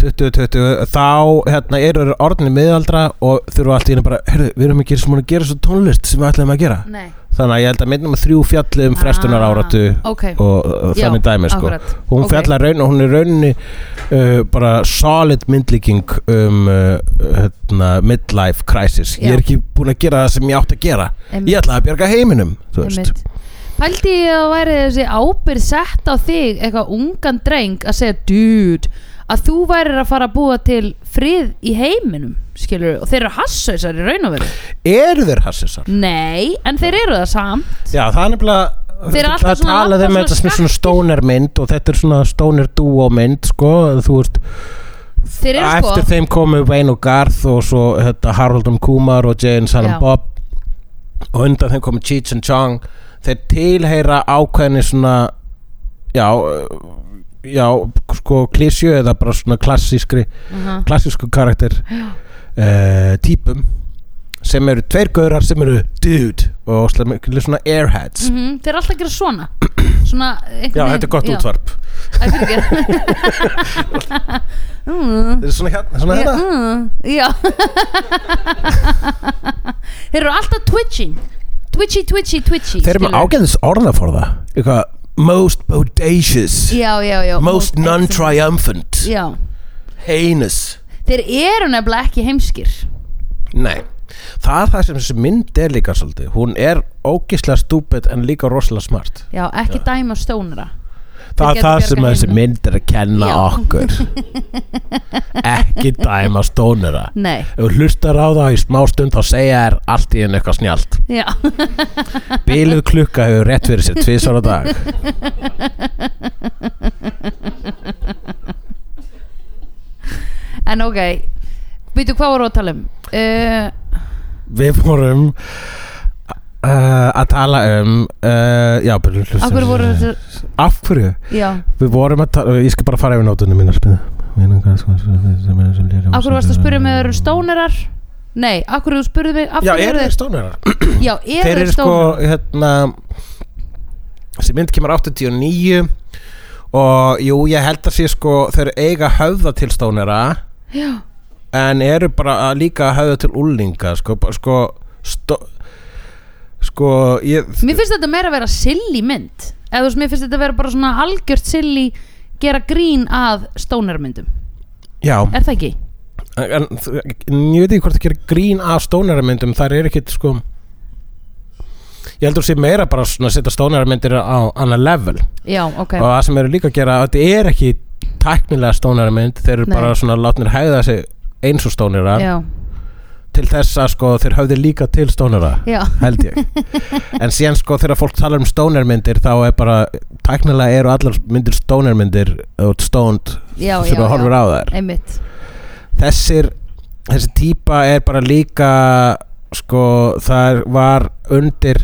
2020 þá hérna, eru þeir orðinni miðaldra og þurfa allt í hérna bara heyrðu, við erum ekki sem að gera svo tónlist sem við ætlum að gera
Nei.
þannig að ég held að mynd nummer þrjú fjalli um frestunar áratu
ah, ok,
og uh,
Já,
þannig dæmi sko
akkurat.
hún
Ok.
fjallar raun og hún er rauninni uh, bara solid myndlíking um uh, hérna, midlife crisis ég
Já.
er ekki búin að gera það sem ég átt að gera
Einmitt.
ég ætlaði að bjarga heiminum þú veist.
Einmitt. Pældi ég að væri þessi ábyrð sett á þig eitthvað ungan dreng að segja dude að þú værir að fara að búa til frið í heiminum skilur og þeir eru hasshausar í raun og veru
eru þeir hassisar?
Nei, en þeir eru það samt
já það er nefnilega
Þeir eru alltaf
það
svona- alltaf
talaði um
svona
þetta sem er svona stóner mynd og þetta er svona stóner duo mynd sko þú veist
Þeir eru sko
eftir þeim komu Wayne og Garth og svo þetta, Harold M. Kumar og Jane Silent
Já.
Bob og undan þeim komu Cheech and Chong þeir tilheyra ákveðni svona já uh, já, sko klísju eða bara svona klassískri
Aha.
klassísku karakter uh, típum sem eru tveir gaurar sem eru dude og óslega miklu svona airheads
Mhm, Þeir eru alltaf að gera svona Svona
já, þetta er gott útvarp
útvarp Mm.
þetta er svona hérna, svona
Já,
hérna
mm, já. Þeir eru alltaf twitching Twitchy, twitchy, twitchy
þeir eru með
skilurðu.
ágæðis orða for það eitthvað most bodacious
já, já, já,
most non-triumphant
Já.
heinous
Þeir eru nefnilega ekki heimskir
nei, það er það sem þessi mynd er líka svolítið, hún er ógislega stúpid en líka rosalega smart
Já, ekki dæma stónara geta
það er það
bjargað
sem þessi
heiminum.
mynd er að kenna
Já.
okkur ekki dæma stónera
Nei,
ef þú hlustar á það í smástund þá segja þér allt í henni eitthvað snjált
já,
bíluð klukka hefur rétt fyrir sér tvisar á dag
en ok Býtu, hvað voru að tala um? Uh,
við vorum uh, að tala um uh, já, byrjum hlustum
Akkur voru þetta
af hverju?
Já,
Við vorum að tala, ég skal bara fara yfir nótunum mínar spynu sko,
akkur varst að spyrja með þeir eru stónarar? Nei, akkur þú spurði mig af
Já,
hverju
eru
eru
þeir stónarar?
þeir Já, eru
Þeir
þeir
eru sko,
stónarar?
hérna þessi mynd kemur 89 og jú, ég held að sé sko þeir eiga höfða til stónara
Já,
en eru bara að líka að höfða til úlinga sko, bara sko stó, sko, ég
mér finnst þetta meira að vera silly mynd Eða þú veist, mér finnst þetta að vera bara svona algjört silly gera grín að stónarmyndum
já,
Er það ekki?
en þú- en ég veit ekki hvort það gerir grín af stónaramyndum þar er ekkit sko ég heldur sé meira bara svona að setja stónaramyndir á annar level
Já, ok
og það sem eru líka að gera þetta er ekki tæknilega stónaramynd þeir eru
Nei.
bara svona látnir hæða sig eins og stónara
Já,
til þess að sko þeir höfði líka til stónara
já,
held ég en síðan sko þegar fólk talar um stónarmyndir þá er bara tæknilega eru allar myndir stónarmyndir og stónd
já, já,
þegar þú
já.
horfir á þær
Einmitt
þessir þessi típa er bara líka sko það var undir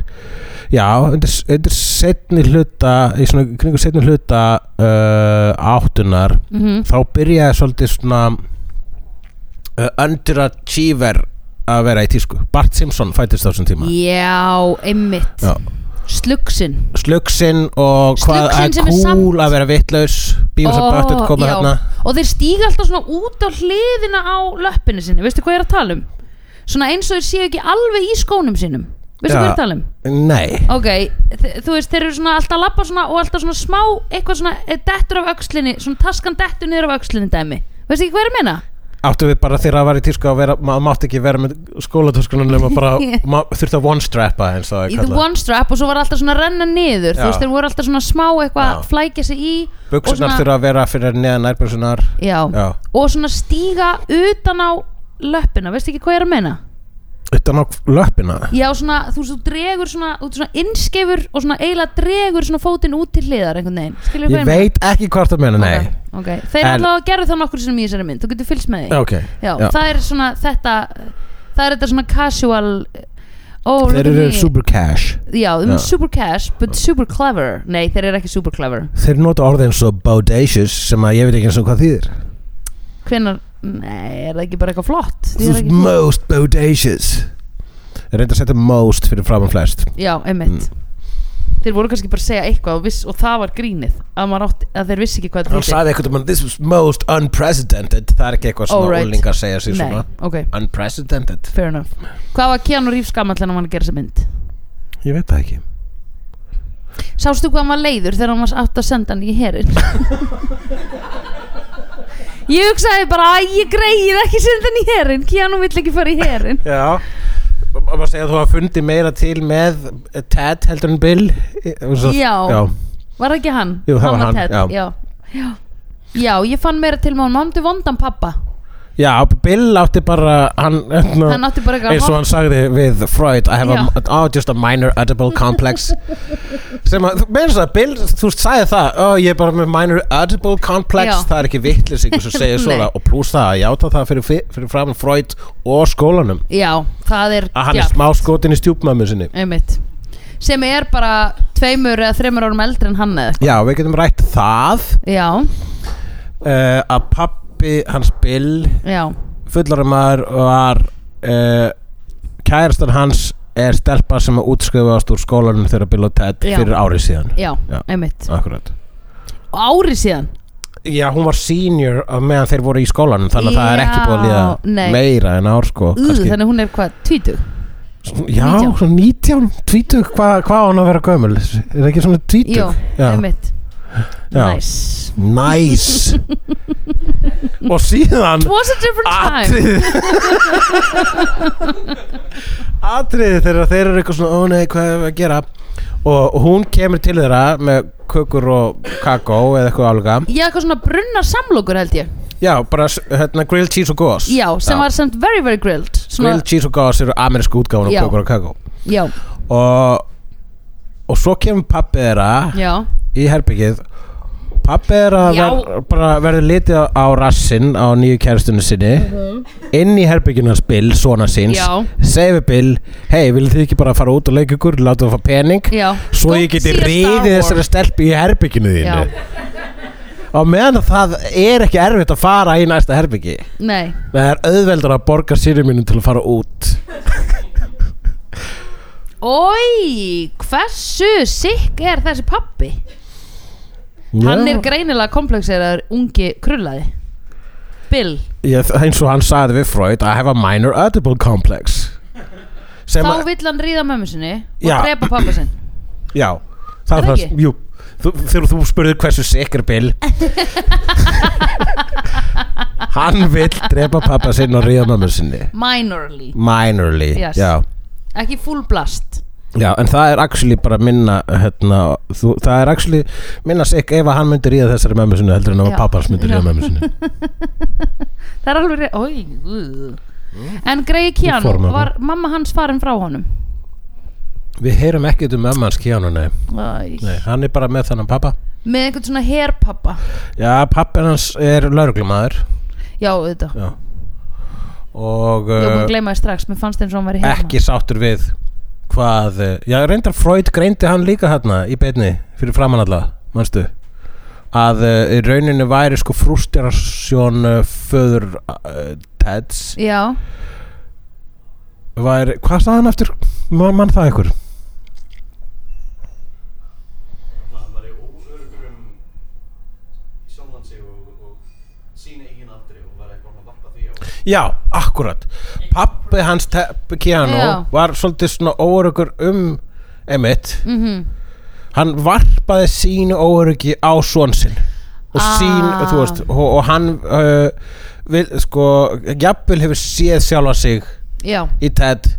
já, undir, undir setni hluta í svona kringu setni hluta uh, áttunar
mm
þá byrjaði svolítið svona uh, underachiever að vera í tísku Bart Simpson fættist á þessum tíma
Já, einmitt
Já.
Slugsinn
Slugsinn og
Slugsinn
hvað er
sem er
cool
samt-
að vera vitlaus Bífus og
Ó,
Böttut koma
já.
hérna
Og þeir stíga alltaf svona út á hliðina á löppinu sinni Veistu hvað ég er að tala um? Svona eins og þeir séu ekki alveg í skónum sínum Veistu
Já.
hvað ég er að tala um?
Nei,
Ok, þe- þú veist, þeir eru svona alltaf að labba svona og alltaf svona smá eitthvað svona eh, dettur af öxlinni, svona taskan dettur niður af öxlinni dæmi Veistu ekki hvað ég er að meina?
áttu við bara þegar að vera í tísku að vera, maður mátt ekki vera með skólatöskunum nema bara, maður þurfti að one-strappa eins og
Í
það er
the
kallað
one strap og svo var alltaf svona að renna niður Þú
Já.
veist, þeir voru alltaf svona smá eitthvað
Já.
að flækja sig í og
buksunar
svona-
þurfa að vera fyrir neðan nærbjörnsunar
Já.
já,
og svona stíga utan á löppina, veistu ekki hvað ég er að meina?
utan á löppina
Já, svona, þú veist, þú dregur svona, þú ert svona innskefur og svona eiginlega dregur svona fótinn út til hliðar einhvern veginn, skilur
ég veit ekki hvort það meina, nei
Ok, ok. þeir
En-
alltaf gerðu það nokkur sinum í þessari mynd, þú getur fylgst með því
ok,
Já, það er svona þetta það er þetta svona casual oh,
Þeir eru super cash
Já, þeir
Já.
eru super cash, but super clever Nei, þeir eru ekki super clever
Þeir nota orðið eins og bodacious sem að ég veit ekki eins og hvað þýðir
Hvenær, nei, er það ekki bara eitthvað flott? Þið eru
This is
ekki-
most bodacious Ég reyndi að setja most fyrir fram og flest
Já, einmitt
Mm.
Þeir voru kannski bara að segja eitthvað og, viss, og það var grínið að, maður átti, að þeir vissi ekki hvað
Hann
þetta
sagði eitthvað um This is most unprecedented Það er ekki eitthvað svona
Oh, right.
úlingar segja sig
Nei,
svona
ok,
Unprecedented
fair enough Hvað var Keanu Reeves gamall en hann var að gera þessa mynd?
Ég veit það ekki
Sástu hvað hann var leiður þegar hann var átt að senda hann í herin? ég hugsaði bara að ég greið ekki senda hann í herin Keanu vill ekki fara í herin
Já Má má segja að þú hafa fundið meira til með Ted heldur en Bill Í- og svo-
Já.
Já,
Var það ekki hann?
Jú, það var hann,
Ted,
já.
já. Já. já, ég fann meira til með hann Mamdu vondan pappa
Já, Bill átti bara hann, hérna,
Hann átti bara eitthvað
eins og hann sagði við Freud I have a, oh, just a minor edible complex sem að, þú meins að Bill þú veist, sagði það, oh, ég er bara með minor edible complex,
Já.
það er ekki vitlis ykkur sem segir svona
Nei.
og pluss það að játa það fyrir, fi- fyrir fram Freud og skólanum
Já, það er
að hann
djarft.
er smá skotin í stjúpmömmu sinni
einmitt sem er bara tveimur eða þreimur árum eldri en hann eða
Já, við getum rætt það
já,
uh, að pappi hans Bill
já,
fullara maður var uh, kærastan hans er stelpa sem að útskrifaðast úr skólanum þegar Bill og Ted
Já.
fyrir árið síðan
já,
Já.
einmitt
Akkurat.
og ári síðan
Já, hún var senior á meðan þeir voru í skólanum þannig að það
Já,
er ekki búið að líða
nei.
meira en ár
Ú,
sko kannski.
þannig að hún er hvað, tvítug
Já,
19.
svona 19, 20, hvað hva á hann að vera gömul? Er það ekki svona 20?
Jó,
Já.
einmitt
Já.
nice.
Nice Og síðan
was a different time
Atrið Atrið þegar þeir eru eitthvað svona Ó nei, hvað er að gera Og hún kemur til þeirra með kökur og kakó eða eitthvað álíka
já, eitthvað svona brunnar samlokur held ég
Já, bara s- hérna grilled cheese og gos
já, sem var samt very, very grilled svona,
Grilled cheese og gos eru amerísku útgáfun og
Já.
kökur og kakó
já,
Og, og svo kemur pappi þeirra
já,
í herbyggið Pappi er að
Já.
ver, bara verður litið á- á rassinn á nýju kæristunni sinni inn í herbyggjunars Bill, svona
Mhm.
síns
Já.
segir við Bill, hei, viljið þið ekki bara fara út og leika ykkur, láta það fá pening
já
svo ég geti riðið þessari stelpu í herbyggjunu þínu
Já.
og meðan að það er ekki erfitt að fara í næsta herbyggi
nei,
það er auðveldur að borga sýri mínum til að fara út
oi hversu sikk er þessi pappi Hann er greinilega komplexeraður ungi krullaði Bill
ég, eins og hann sagði við Freud I have a minor edible complex sem
Þá vill hann ríða mömmu sinni og
Já.
drepa pappa sinn
Já,
Er
það er
það
það, jú þú, Þegar þú spurðir hversu sikker Bill Hann vill drepa pappa sinn og ríða mamma sinni
Minorly
Minorly
Yes.
já.
Ekki full blast
já, en það er actually bara minna hérna, þú, Það er actually minna sikk ef að hann myndi ríða þessari mamma sinni heldur en
Já.
að pappa hans myndi
Já.
ríða mamma sinni
Það er alveg reyð Oi, uh.
Mm.
En Gregi Keanu
Útformaður.
Var mamma hans farin frá honum
Við heyrum ekkert um mamma hans Keanu, nei.
Æ.
nei Hann er bara með þannan pappa
Með einhvern svona herpappa
Já, pappa hans er lauruglumæður
Já, auðvitað
Já Og
Ég var búin
uh,
að gleyma þér strax Mér fannst eins og hann var í
ekki sáttur við hvað, eh, já reyndar Freud greindi hann líka hérna í beinni fyrir framan alla, manstu að uh, rauninu væri sko frústjarasjón uh, föður uh, Teds
Já,
væri, hvað sagði hann eftir mann man það ykkur
hann var í óörgur um sjálfan sig og, og sína eigin aldri og var eitthvað að varpa því á
já, akkurat pappi hans Te- Keanu
Já.
var svolítið svona óöryggur um emitt
mhm
hann varpaði sínu óöryggi á svon sinn og
Ah.
sín, þú veist, og, og hann uh, vil, sko, jafnvel hefur séð sjálfa sig
Já, mhm,
í TED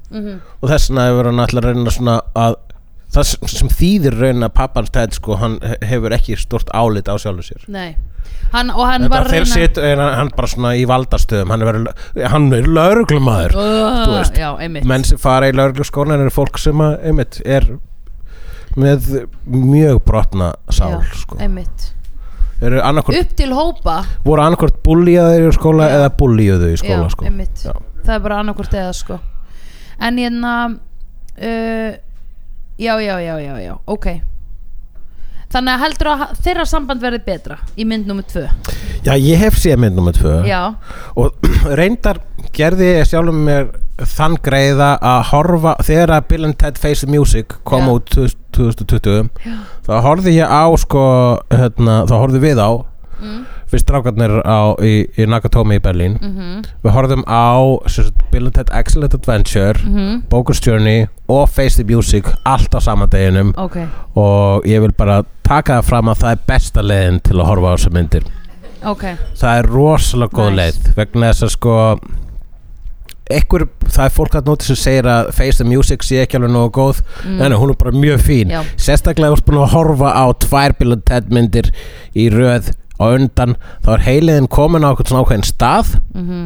og þess vegna hefur hann alltaf reyna svona að það sem- sem þýðir reyna pappans TED, sko, hann he- hefur ekki stort álit á sjálfu sér
nei hann, Og hann
Þetta,
var
þeir sitt, en hann hann bara svona í valdastöðum hann er, verið- hann er lögreglumæður þú
uh,
veist,
Já, einmitt
menn sem fara í lögregluskóna eru fólk sem að, einmitt, er með mjög brotna sál,
Já,
sko
Einmitt
eru annarkvort,
Upp til hópa
voru annarkvort búlíjaðir í skóla eða búlíjuðu í skóla
já,
sko.
einmitt.
Já.
það er bara annarkvort eða sko en hérna uh, já, já, já, já, já, ok Þannig að heldur að þeirra samband verði betra í mynd nummer tvö
Já, ég hef séð mynd nummer tvö
Já,
og reyndar gerði ég sjálfum mér þann greiða að horfa þegar að Bill and Ted Face the Music kom
Já.
út 2020 þá horfði ég á sko hérna, þá horfði við á
Mm.
fyrst strákarnir á, í, í Nakatomi í Berlín
mm -hmm.
við horfðum á sem sagt, Bill and Ted Excellent Adventure mm
mhm.
Journey og Face the Music allt á sama deginum
ok
og ég vil bara taka það fram að það er besta leiðin til að horfa á þessar myndir
Ok,
það er rosalega góð
Nice.
leið vegna þess að sko ekkur, það er fólk að nota sem segir að Face the Music sé ekki alveg nógu góð mm. en hún er bara mjög fín
Já.
sérstaklega ef þú búin að horfa á tvær Bill and Ted myndir í röð á undan, þá er heiliðin komin á okkur svona ákveðin stað
mm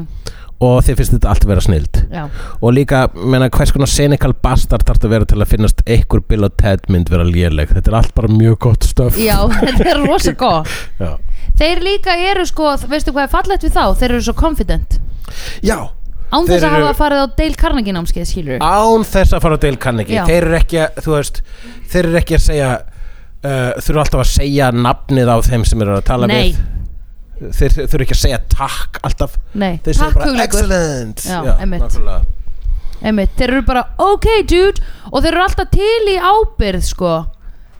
og þið finnst þetta allt vera snild
já,
og líka, menna, hvers konar senikal bastard þarf að vera til að finnast ekkur Bill and Ted mynd vera léleg, þetta er allt bara mjög gott stöf
já, þetta er rosa góð
Já.
Þeir líka eru sko, veistu hvað er fallegt við þá? Þeir eru svo confident
Já,
Án
Þeir
þess að
eru-
hafa farið á Dale Carnegie námskeið skilur
án þess að fara á Dale Carnegie
Já.
þeir eru ekki að, þú veist þeir eru ekki að segja uh, þurfa alltaf að segja nafnið á þeim sem eru að tala
Nei,
við þeir þurfa ekki að segja takk alltaf
nei,
þeir segja
takk
bara
hugleikur
excellent
Já, einmitt.
nákvæmlega.
Einmitt, þeir eru bara ok dude og þeir eru alltaf til í ábyrð sko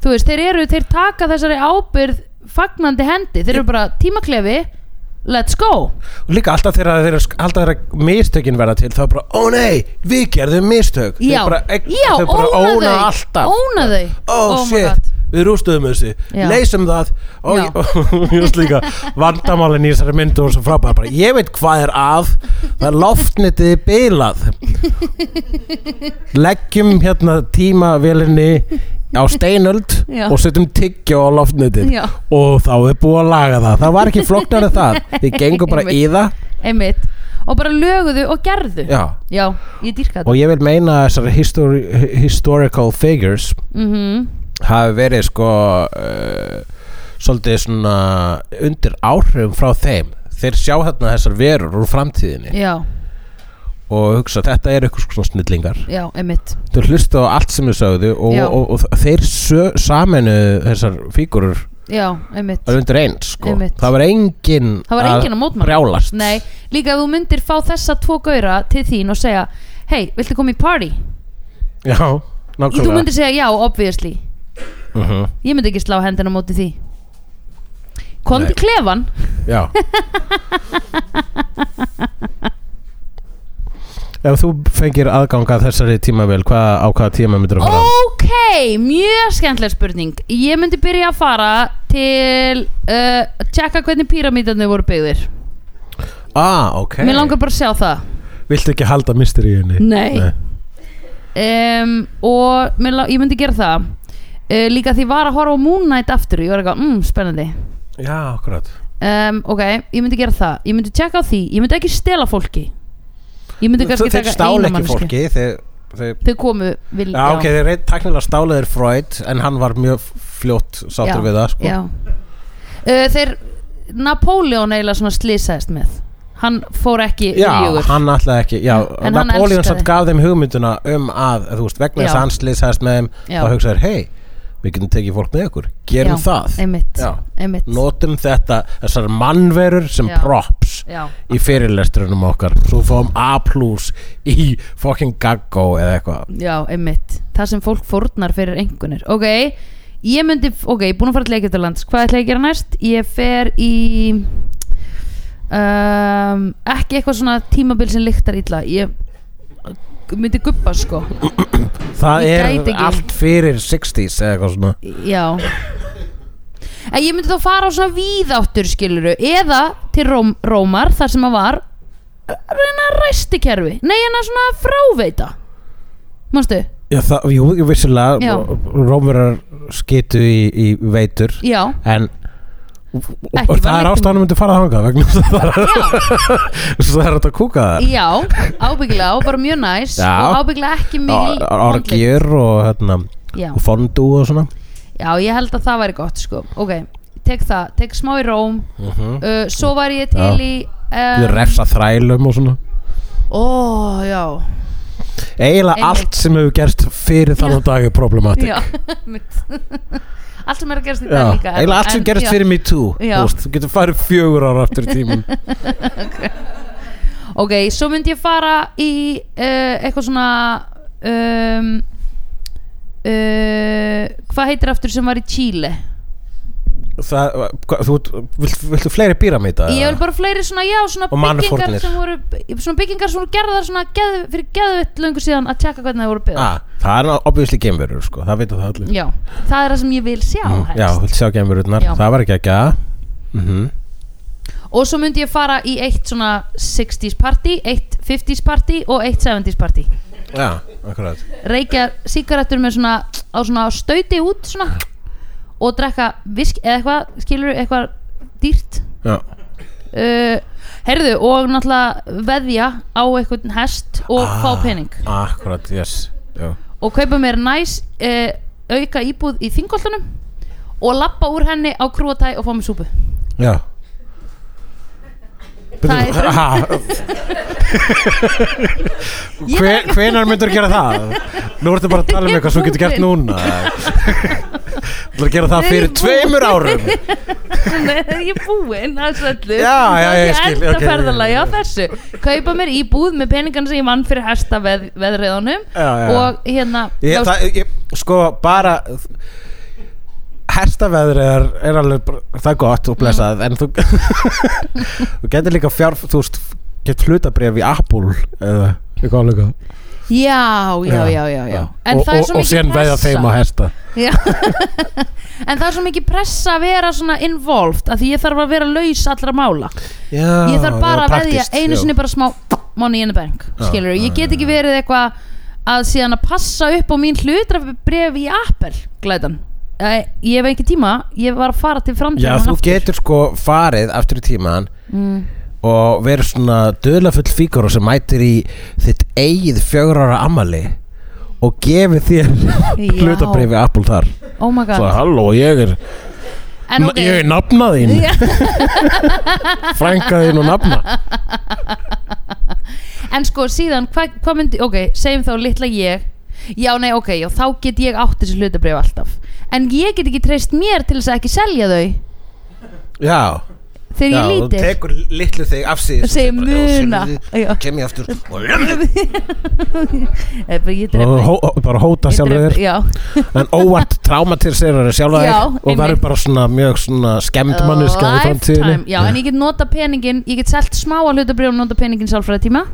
þú veist, þeir eru, þeir taka þessari ábyrð fagnandi hendi, þeir eru bara tímaklefi, let's go
og líka alltaf þegar þeir eru- alltaf þegar mistökin verða til þá er bara ó nei, við gerðum mistök
já,
þeir bara, ek,
já,
þeir bara
óna
óna
þau
alltaf
óna þau,
oh,
my
shit,
god.
við rústuðum þessu
Já.
leysum það og
Já.
ég- just líka vandamálin í þessari myndu og svo frábæra bara, ég veit hvað er að það er loftnitið er bilað leggjum hérna tímavélinni á steinöld
Já.
og setjum tyggjó á loftnitið
Já.
og þá er búið að laga það það var ekki flóknar en það þið gengum bara í það
einmitt, og bara löguðu og gerðu
Já.
ég dýrka
og
þetta
ég vil meina að þessari histori historical figures
mm
hafi verið sko uh, svolítið svona undir áhrifum frá þeim þeir sjá hérna þessar verur úr framtíðinni
já,
og hugsa þetta er eitthvað svona snillingar
já, einmitt
þeir hlusta á allt sem þeir sögðu og,
Já.
og, og, þeir sö, saminu þessar fígurur
já, einmitt
undir eins sko.
Einmitt.
það var engin
Það var enginn að mótmæla.
brjálast
Nei, líka ef þú myndir fá þessa tvo gauðra til þín og segja Hei, viltu koma í party? Í,
já,
þú
nákvæmlega
myndir segja já, obviously
uh -huh.
Ég myndi ekki slá hendina á móti því Komdu
Nei.
í klefan
já Ef þú fengir aðgang að þessari tímavél, hvað, á hvaða tíma myndir að fara?
Ok, mjög skemmtileg spurning Ég myndi byrja að fara til uh, að Tjekka hvernig píramítarnir voru byggðir
Ah, ok
Mér langar bara að sjá það
Viltu ekki halda mysteríunni?
Nei. um, Og mér lang- ég myndi gera það uh, Líka því ég var að horfa á Moon Knight aftur Ég var eitthvað, mm, spennandi
Já, akkurat
um, ok, ég myndi gera það ég myndi tjekka á því, ég myndi ekki stela fólki ég myndi kannski
Þeir
taka
stála
eina
ekki
manneski
fólki þeir, þeir,
þau komu vil,
Já, ok, þeir reynd taknilega stála þeir Freud En hann var mjög fljótt sáttur við það sko.
já. Uh, þeir Napoleon eiginlega svona slisaðist með hann fór ekki í ljúgur.
hann ætlaði ekki Já,
En hann
Napoleon
elskaði.
samt gaf þeim hugmynduna um að Þú veist,
Já.
vegna þess að hann slýsaðist með þeim
Já.
Þá hugsaður, hei, við getum tekið fólk með ykkur Gerum
Já,
það
einmitt,
Já.
einmitt.
Notum þetta, þessar mannverur sem
Já.
props
Já.
í fyrirlesturunum okkar Svo fáum A plus í fucking gaggó eða eitthvað
já, einmitt það sem fólk fórnar fyrir einhvernir ok, ég myndi ok, ég búin að fara til Egyptalands, hvað ætla ég að gera næst ég fer í um, ekki eitthvað svona tímabil sem lyktar illa ég myndi gubba sko
Það
Ég gæti
er
ekki.
allt fyrir 60s eða eitthvað svona
Já En ég myndi þá fara á svona víðáttur skiluru Eða til Róm, Rómar þar sem að var Reyna ræstikerfi Nei, en að svona fráveita Manstu?
Já, það, jú, jú,
Já.
vissulega Rómverjar skitu í, í veitur
Já
En
Ekki var
og það er
leikum.
ástæðan myndi fara að hanga vegna þess að það er svo það er hægt að kúka það
Já, ábyggilega og bara mjög næs
Já.
Og ábyggilega ekki mikil
Á- Orgier og hérna
Já.
og fondu og svona
Já, ég held að það væri gott sko Ok, tek það, tek smá í Róm uh, Svo var ég til
Já.
í
við
um,
refsa þrælum og svona
Ó, já
eiginlega
Einmitt.
allt sem hefur gerst fyrir þannig dag er problematic
Já, mitt Allt sem er að gerast í
Já,
dag líka
eiginlega allt sem
en-
gerist
já.
fyrir me too
Já.
þú veist, þú getur farið fjögur ára aftur í tíman
Ok, svo myndi ég fara í uh, eitthvað svona um, uh, Hvað heitir aftur sem var í Chile?
Það, hva, þú, vilt, viltu fleiri píramíta?
Ég
eða?
vil bara fleiri svona, já, svona
Og
byggingar
mannfórnir.
sem voru Svona byggingar sem voru gerðar svona geð, fyrir geðvett löngu síðan að tjekka hvernig það voru byggðar
ah, Það er obviously gemverur sko, það veitum það allir
Já, það er það sem ég vil sjá
Mm,
helst.
Já, þú vilt sjá gemverurnar,
Já.
það var ekki ekki að mm
Og svo myndi ég fara í eitt svona 60s party, eitt 50s party og eitt 70s party
Já, akkurat
Reykja sígarettur með svona á svona stauti út svona og drekka visk eða eitthvað skilur eitthvað dýrt
Já,
uh, Herðu og náttúrulega veðja á eitthvað hest og
Ah.
fá pening
akkurat, yes Já,
og kaupa mér næs uh, auka íbúð í þingoltunum og lappa úr henni á krúatæ og fá mér súpu
já.
Það er
Byrju, ha, Hve, Hvenar myndur gera það? Nú ertu bara að tala um eitthvað sem þú getur gert núna Þú ætlar að gera það
Nei,
fyrir
ég er
tveimur árum
Nei, ég er búinn að söllu
Já, já, ég skil,
Ég enda
ok,
ferðalagi
já,
á
já.
þessu Kaupa mér íbúð með peningarna sem ég vann fyrir hesta veð, veðriðunum
Já, já.
Og hérna
ég,
já,
það, ég, Sko, bara Hestaveður er, er alveg bara- Það er gott og
Mm.
blessað En þú Þú getur líka fjár Þú veist Gett hlutabrif í Apple Eða Eitthvað alveg
já, já, já, já, já. En
og,
það er
og,
svo
og síðan
mikið
veða þeim á
pressa
hesta
Já. En það er svo mikið pressa að vera svona involved af Því ég þarf að vera laus allra mála
já,
Ég þarf bara
já,
að veðja
praktískt,
einu
já.
sinni bara smá Money in the bank,
Já,
skilur
já,
Ég get ekki verið eitthvað að síðan að passa upp á mín hlutrabref í Apple glæðan Ég hef ekki tíma, ég var að fara til
Já,
framtíðan
þú getur sko farið aftur í tíman
Mm,
og verið svona döðlafull fíkur sem mætir í þitt eigið fjögur ára amali og gefið þér
Já.
hlutabrifi Apple þar
Oh my god
Svo, halló, ég er,
En ok,
ég er nafna þín
Já.
frænka þín og nafna
en sko síðan, hvað hva myndi Ok, segjum þá litla ég Já, nei, ok, já, þá get ég átt þessi hlutabref alltaf En ég get ekki treyst mér til þess að ekki selja þau
Já,
Þegar
já
ég
þú
lítil
tekur litlu þig af síðan
Segir muna. Já.
Kem ég aftur og
Eh, bara Ég dref
Og hó, bara hóta sjálfur þér
Já,
en óvart traumatiserur sjálfur
Já,
þér og verður
einmitt.
bara svona mjög svona skemmt manniska í
Uh, Lifetime,
framtíðinu
já, en ég get nota peningin ég get selt smáa hlutabrjóð og nota peningin sjálfræði tíma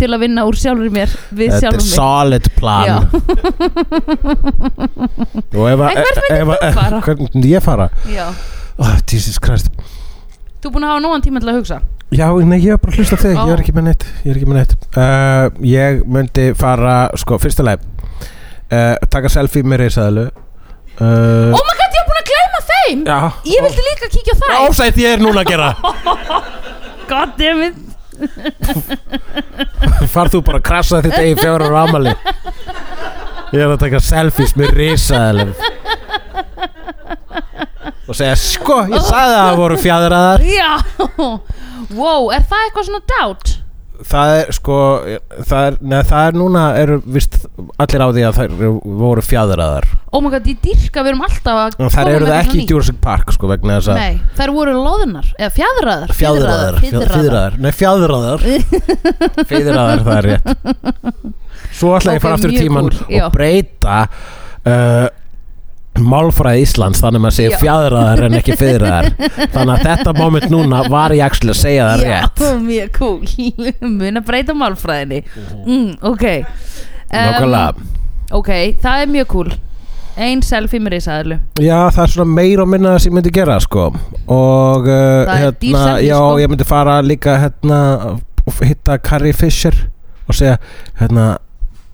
til að vinna úr sjálfur mér við
Þetta er
sjálfur mig
solid
Já.
plan Og ef að
En hvert myndir
ef
þú
að- ef-
fara?
Hvernig myndi ég fara?
Já.
Oh, Jesus Christ
Þú er búin að hafa nógan tíma til að hugsa
Já, nei, ég var bara að hlusta á þig Ég er
Ó.
ekki með neitt Ég er ekki með neitt uh, Ég myndi fara, sko, fyrsta leið uh, Taka selfie með reysaðalu uh,
Oh my god, ég er búin að gleyma þeim
Já
Ég vildi líka kíkja á það
Ásætt ég er núna að gera
God damn it
Far þú bara að krasa þitt eigin fjórar ámali Ég er að taka selfies með risaðalum Og segja sko, ég sagði að það voru fjadraðar
Já Wow, er það eitthvað svona doubt?
Það er sko Það er, neð, það er núna eru vist allir á því að þær eru- voru fjadraðar
Oh my god, ég dyrka, við erum alltaf að
En
koma
þær eru
með
það
eitthvað
ekki í
nýtt.
Jurassic Park sko vegna þess að
Nei, þær voru loðnar eða fjadraðar
Fjadraðar,
fjadraðar.
fjadraðar Nei, fjadraðar Fjadraðar, það er rétt Svo ætla
Ok,
ég að fara aftur í
mjög
tíman
kúl, já.
og breyta uh, Málfræði Íslands Þannig að maður
Já.
segir fjadraðar en ekki fjadraðar Þannig að þetta moment núna var ég actually að segja það rétt
Já,
Mhm.
mjög cool Mun að breyta málfræðinni mm, Ok Em,
Nákvæmlega
Ok, það er mjög cool Ein selfie með risaðlu
Já, það er svona meir og minna það sem ég myndi gera sko og uh,
Það er dýr
hérna,
selfie,
já,
sko.
ég myndi fara líka hérna, og hitta Carrie Fisher og segja hérna,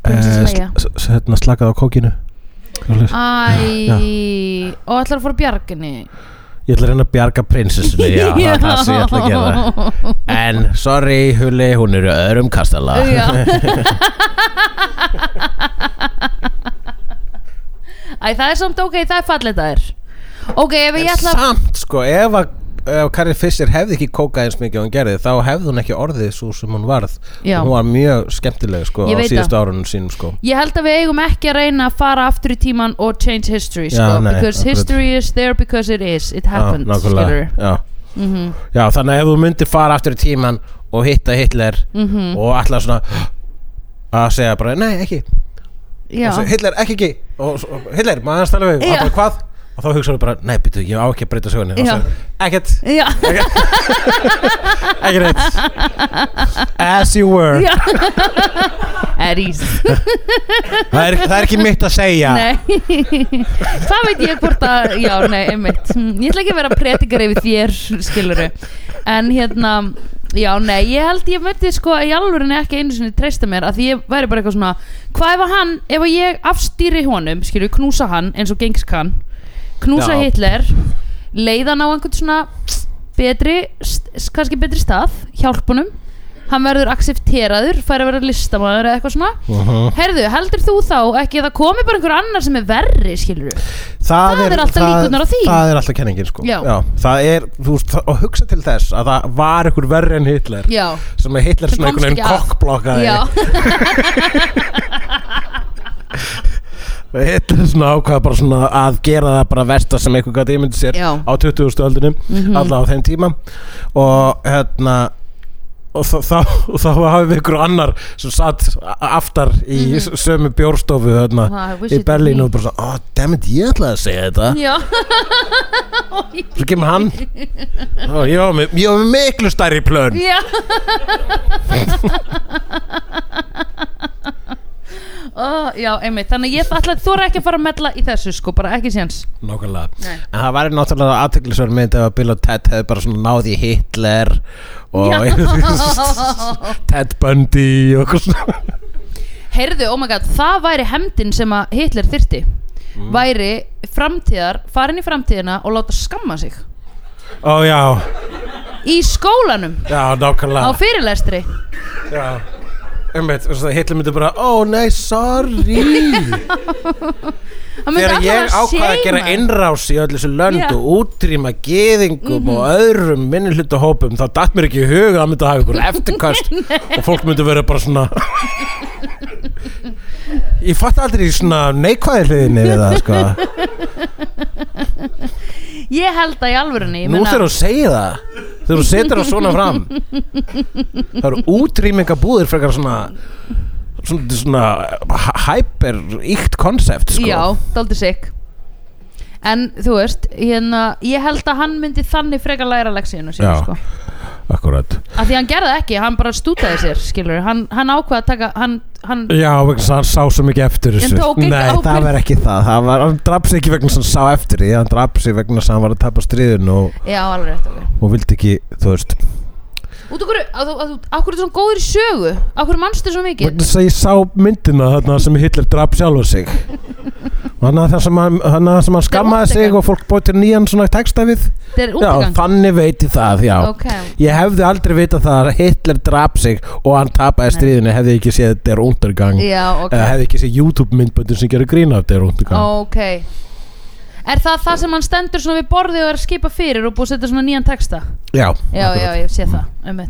Princess
eh,
Leia.
s- s- hérna slakað á kókinu Svoleiðis.
Ah. Æ, og ætlar að fara bjarginni
Ég ætla að reyna að bjarga prinsessunni Já, það er það sem ég ætla að gera En, sorry, Hulli, hún er í öðrum kastala
Já Æ, það er samt ok, það er fallið það er Ok, ef
En
ég ætla
samt, sko, ef að ef Carrie Fisher hefði ekki kókað eins mikið og hún gerði þá hefði hún ekki orðið svo sem hún varð
Já.
hún var mjög skemmtileg sko
Ég
á
veit
síðustu
það.
árunum sínum sko
Ég held að við eigum ekki að reyna að fara aftur í tíman og change history sko,
Já, nei,
because
akkurat.
history is there because it is it happens, Mhm,
já,
skilur
nákvæmlega. já. já, þannig að ef þú myndir fara aftur í tíman og hitta Hitler
mhm, Mm.
og allar svona að segja bara, nei, ekki
já,
Og svo, Hitler, ekki ekki og, svo- og, Hitler, maður hans tala við, og
Já.
bara hvað og þá hugsaðu bara, nei, býtu, ég á ekki að breyta sögunni og
Já.
svo, ekkert,
já,
ekki neitt as you were
já. er ís
það er, það er ekki mitt að segja
nei það veit ég hvort að já, nei, einmitt, Mm, ég ætla ekki að vera predikar yfir þér, skilur en hérna, já, nei ég held ég myndi sko í alvörinni ekki einu sinni treysta mér að því ég væri bara eitthvað svona hvað ef að hann, ef að ég afstýri honum skilur, knúsa hann eins og gengs kann knúsa
Já.
Hitler leiðan á einhvern svona betri, s- kannski betri stað hjálpunum, hann verður accepteraður, fær að vera listamaður eða eitthvað svona
Mhm.
Herðu, heldur þú þá ekki að það komi bara einhver annar sem er verri, skilur við?
það,
er alltaf líkurnar á því.
það er alltaf kenningin sko
Já.
það er, þú veist, það- og hugsa til þess að það var ykkur verri en Hitler
Já.
sem að Hitler
Sem
svona
komst
einhvern veginn
ekki að.
kokkblokkaði
Já,
Hitler svona ákvað bara svona að gera það bara versta sem einhver gæti ímyndi sér
Já. Mhm.
á 20. öldunum alla á þeim tíma og hérna og þá, þá, og þá hafið við ykkur annar sem satt a- aftar í sömu bjórstofu hérna,
Ah, Mhm. I wish
í
it were
Berlín
me.
og bara svona oh, dammit, ég ætlaði að segja þetta
já
svo kemur hann Ó, ég, var með, ég var með miklu stærri plön
Já Ó, Já, einmitt Þannig að ég ætla að þú ekki að fara að mella í þessu sko, bara ekki séns
Nákvæmlega
Nei.
En það væri náttúrulega aðteklisverð mynd ef að Bill og Ted hefði bara svona náð í Hitler og Ted Bundy og eitthvað svona
Heyrðu, oh my god, það væri hemdin sem að Hitler þyrti
Mm.
væri framtíðar, farin í framtíðina og láta skamma sig
Ó já,
í skólanum á
já, nákvæmlega
fyrirlestri
Já Einmitt, og svo Hitler myndi bara, ó nei, sorry
Það myndi
Þegar
allavega
ég ákvaði að
shame
gera
hann.
innrás í öll þessu lönd
Já. Mhm.
og útrýma gyðingum og öðrum minnihlutahópum þá datt mér ekki í huga að myndi hafa ykkur eftirkast og fólk myndi vera bara svona Ég fatt aldrei svona neikvæði hliðinni við það sko
Ég held að í alvörunni ég
Nú
meina-
þegar þú segir það þegar þú setur það svona fram það eru útrýmingabúðir frekar svona svona, svona hyper íkt konsept sko
Já, daldi sig En þú veist, hérna, ég held að hann myndi þannig frekar læra leksíðinu sín
Já.
sko.
Akkurat
Af því hann gerði það ekki, hann bara stútaði sér skilur, hann, hann ákvað að taka hann, hann,
Já, vegna þess að hann sá svo mikið eftir þessu
En tók ekki
Nei, það
ábyrgð.
var ekki það, það var, Hann draf sig ekki vegna þess að hann sá eftir því Hann draf sig vegna þess að hann var að tapa stríðun og,
Já, alveg rétt ok
og vildi ekki, þú veist
Út okkur, að þú, að þú, af hverju er svona góður í sögu Af hverju mannstu svo mikið
Vegna þess að ég sá myndina þarna sem Hitler draf sjálfa sig Og hann að það sem hann, hann, að það sem hann skammaði
útlegan.
sig og fólk bóti nýjan svona texta við
Þetta er
Já,
útgang
þannig veit ég það, já
Ok.
Ég hefði aldrei vitað það að Hitler draf sig og hann tapaði
Nei.
stríðinu hefði ég ekki séð þetta er undergang
Já, ok
eða hefði ekki séð YouTube myndböndin sem gerir grín af þetta er undergang
Ok Er það það sem hann stendur svona við borðið og er að skipa fyrir og búið að setja svona nýjan texta?
Já,
Já,
akkurat.
já, ég sé það, um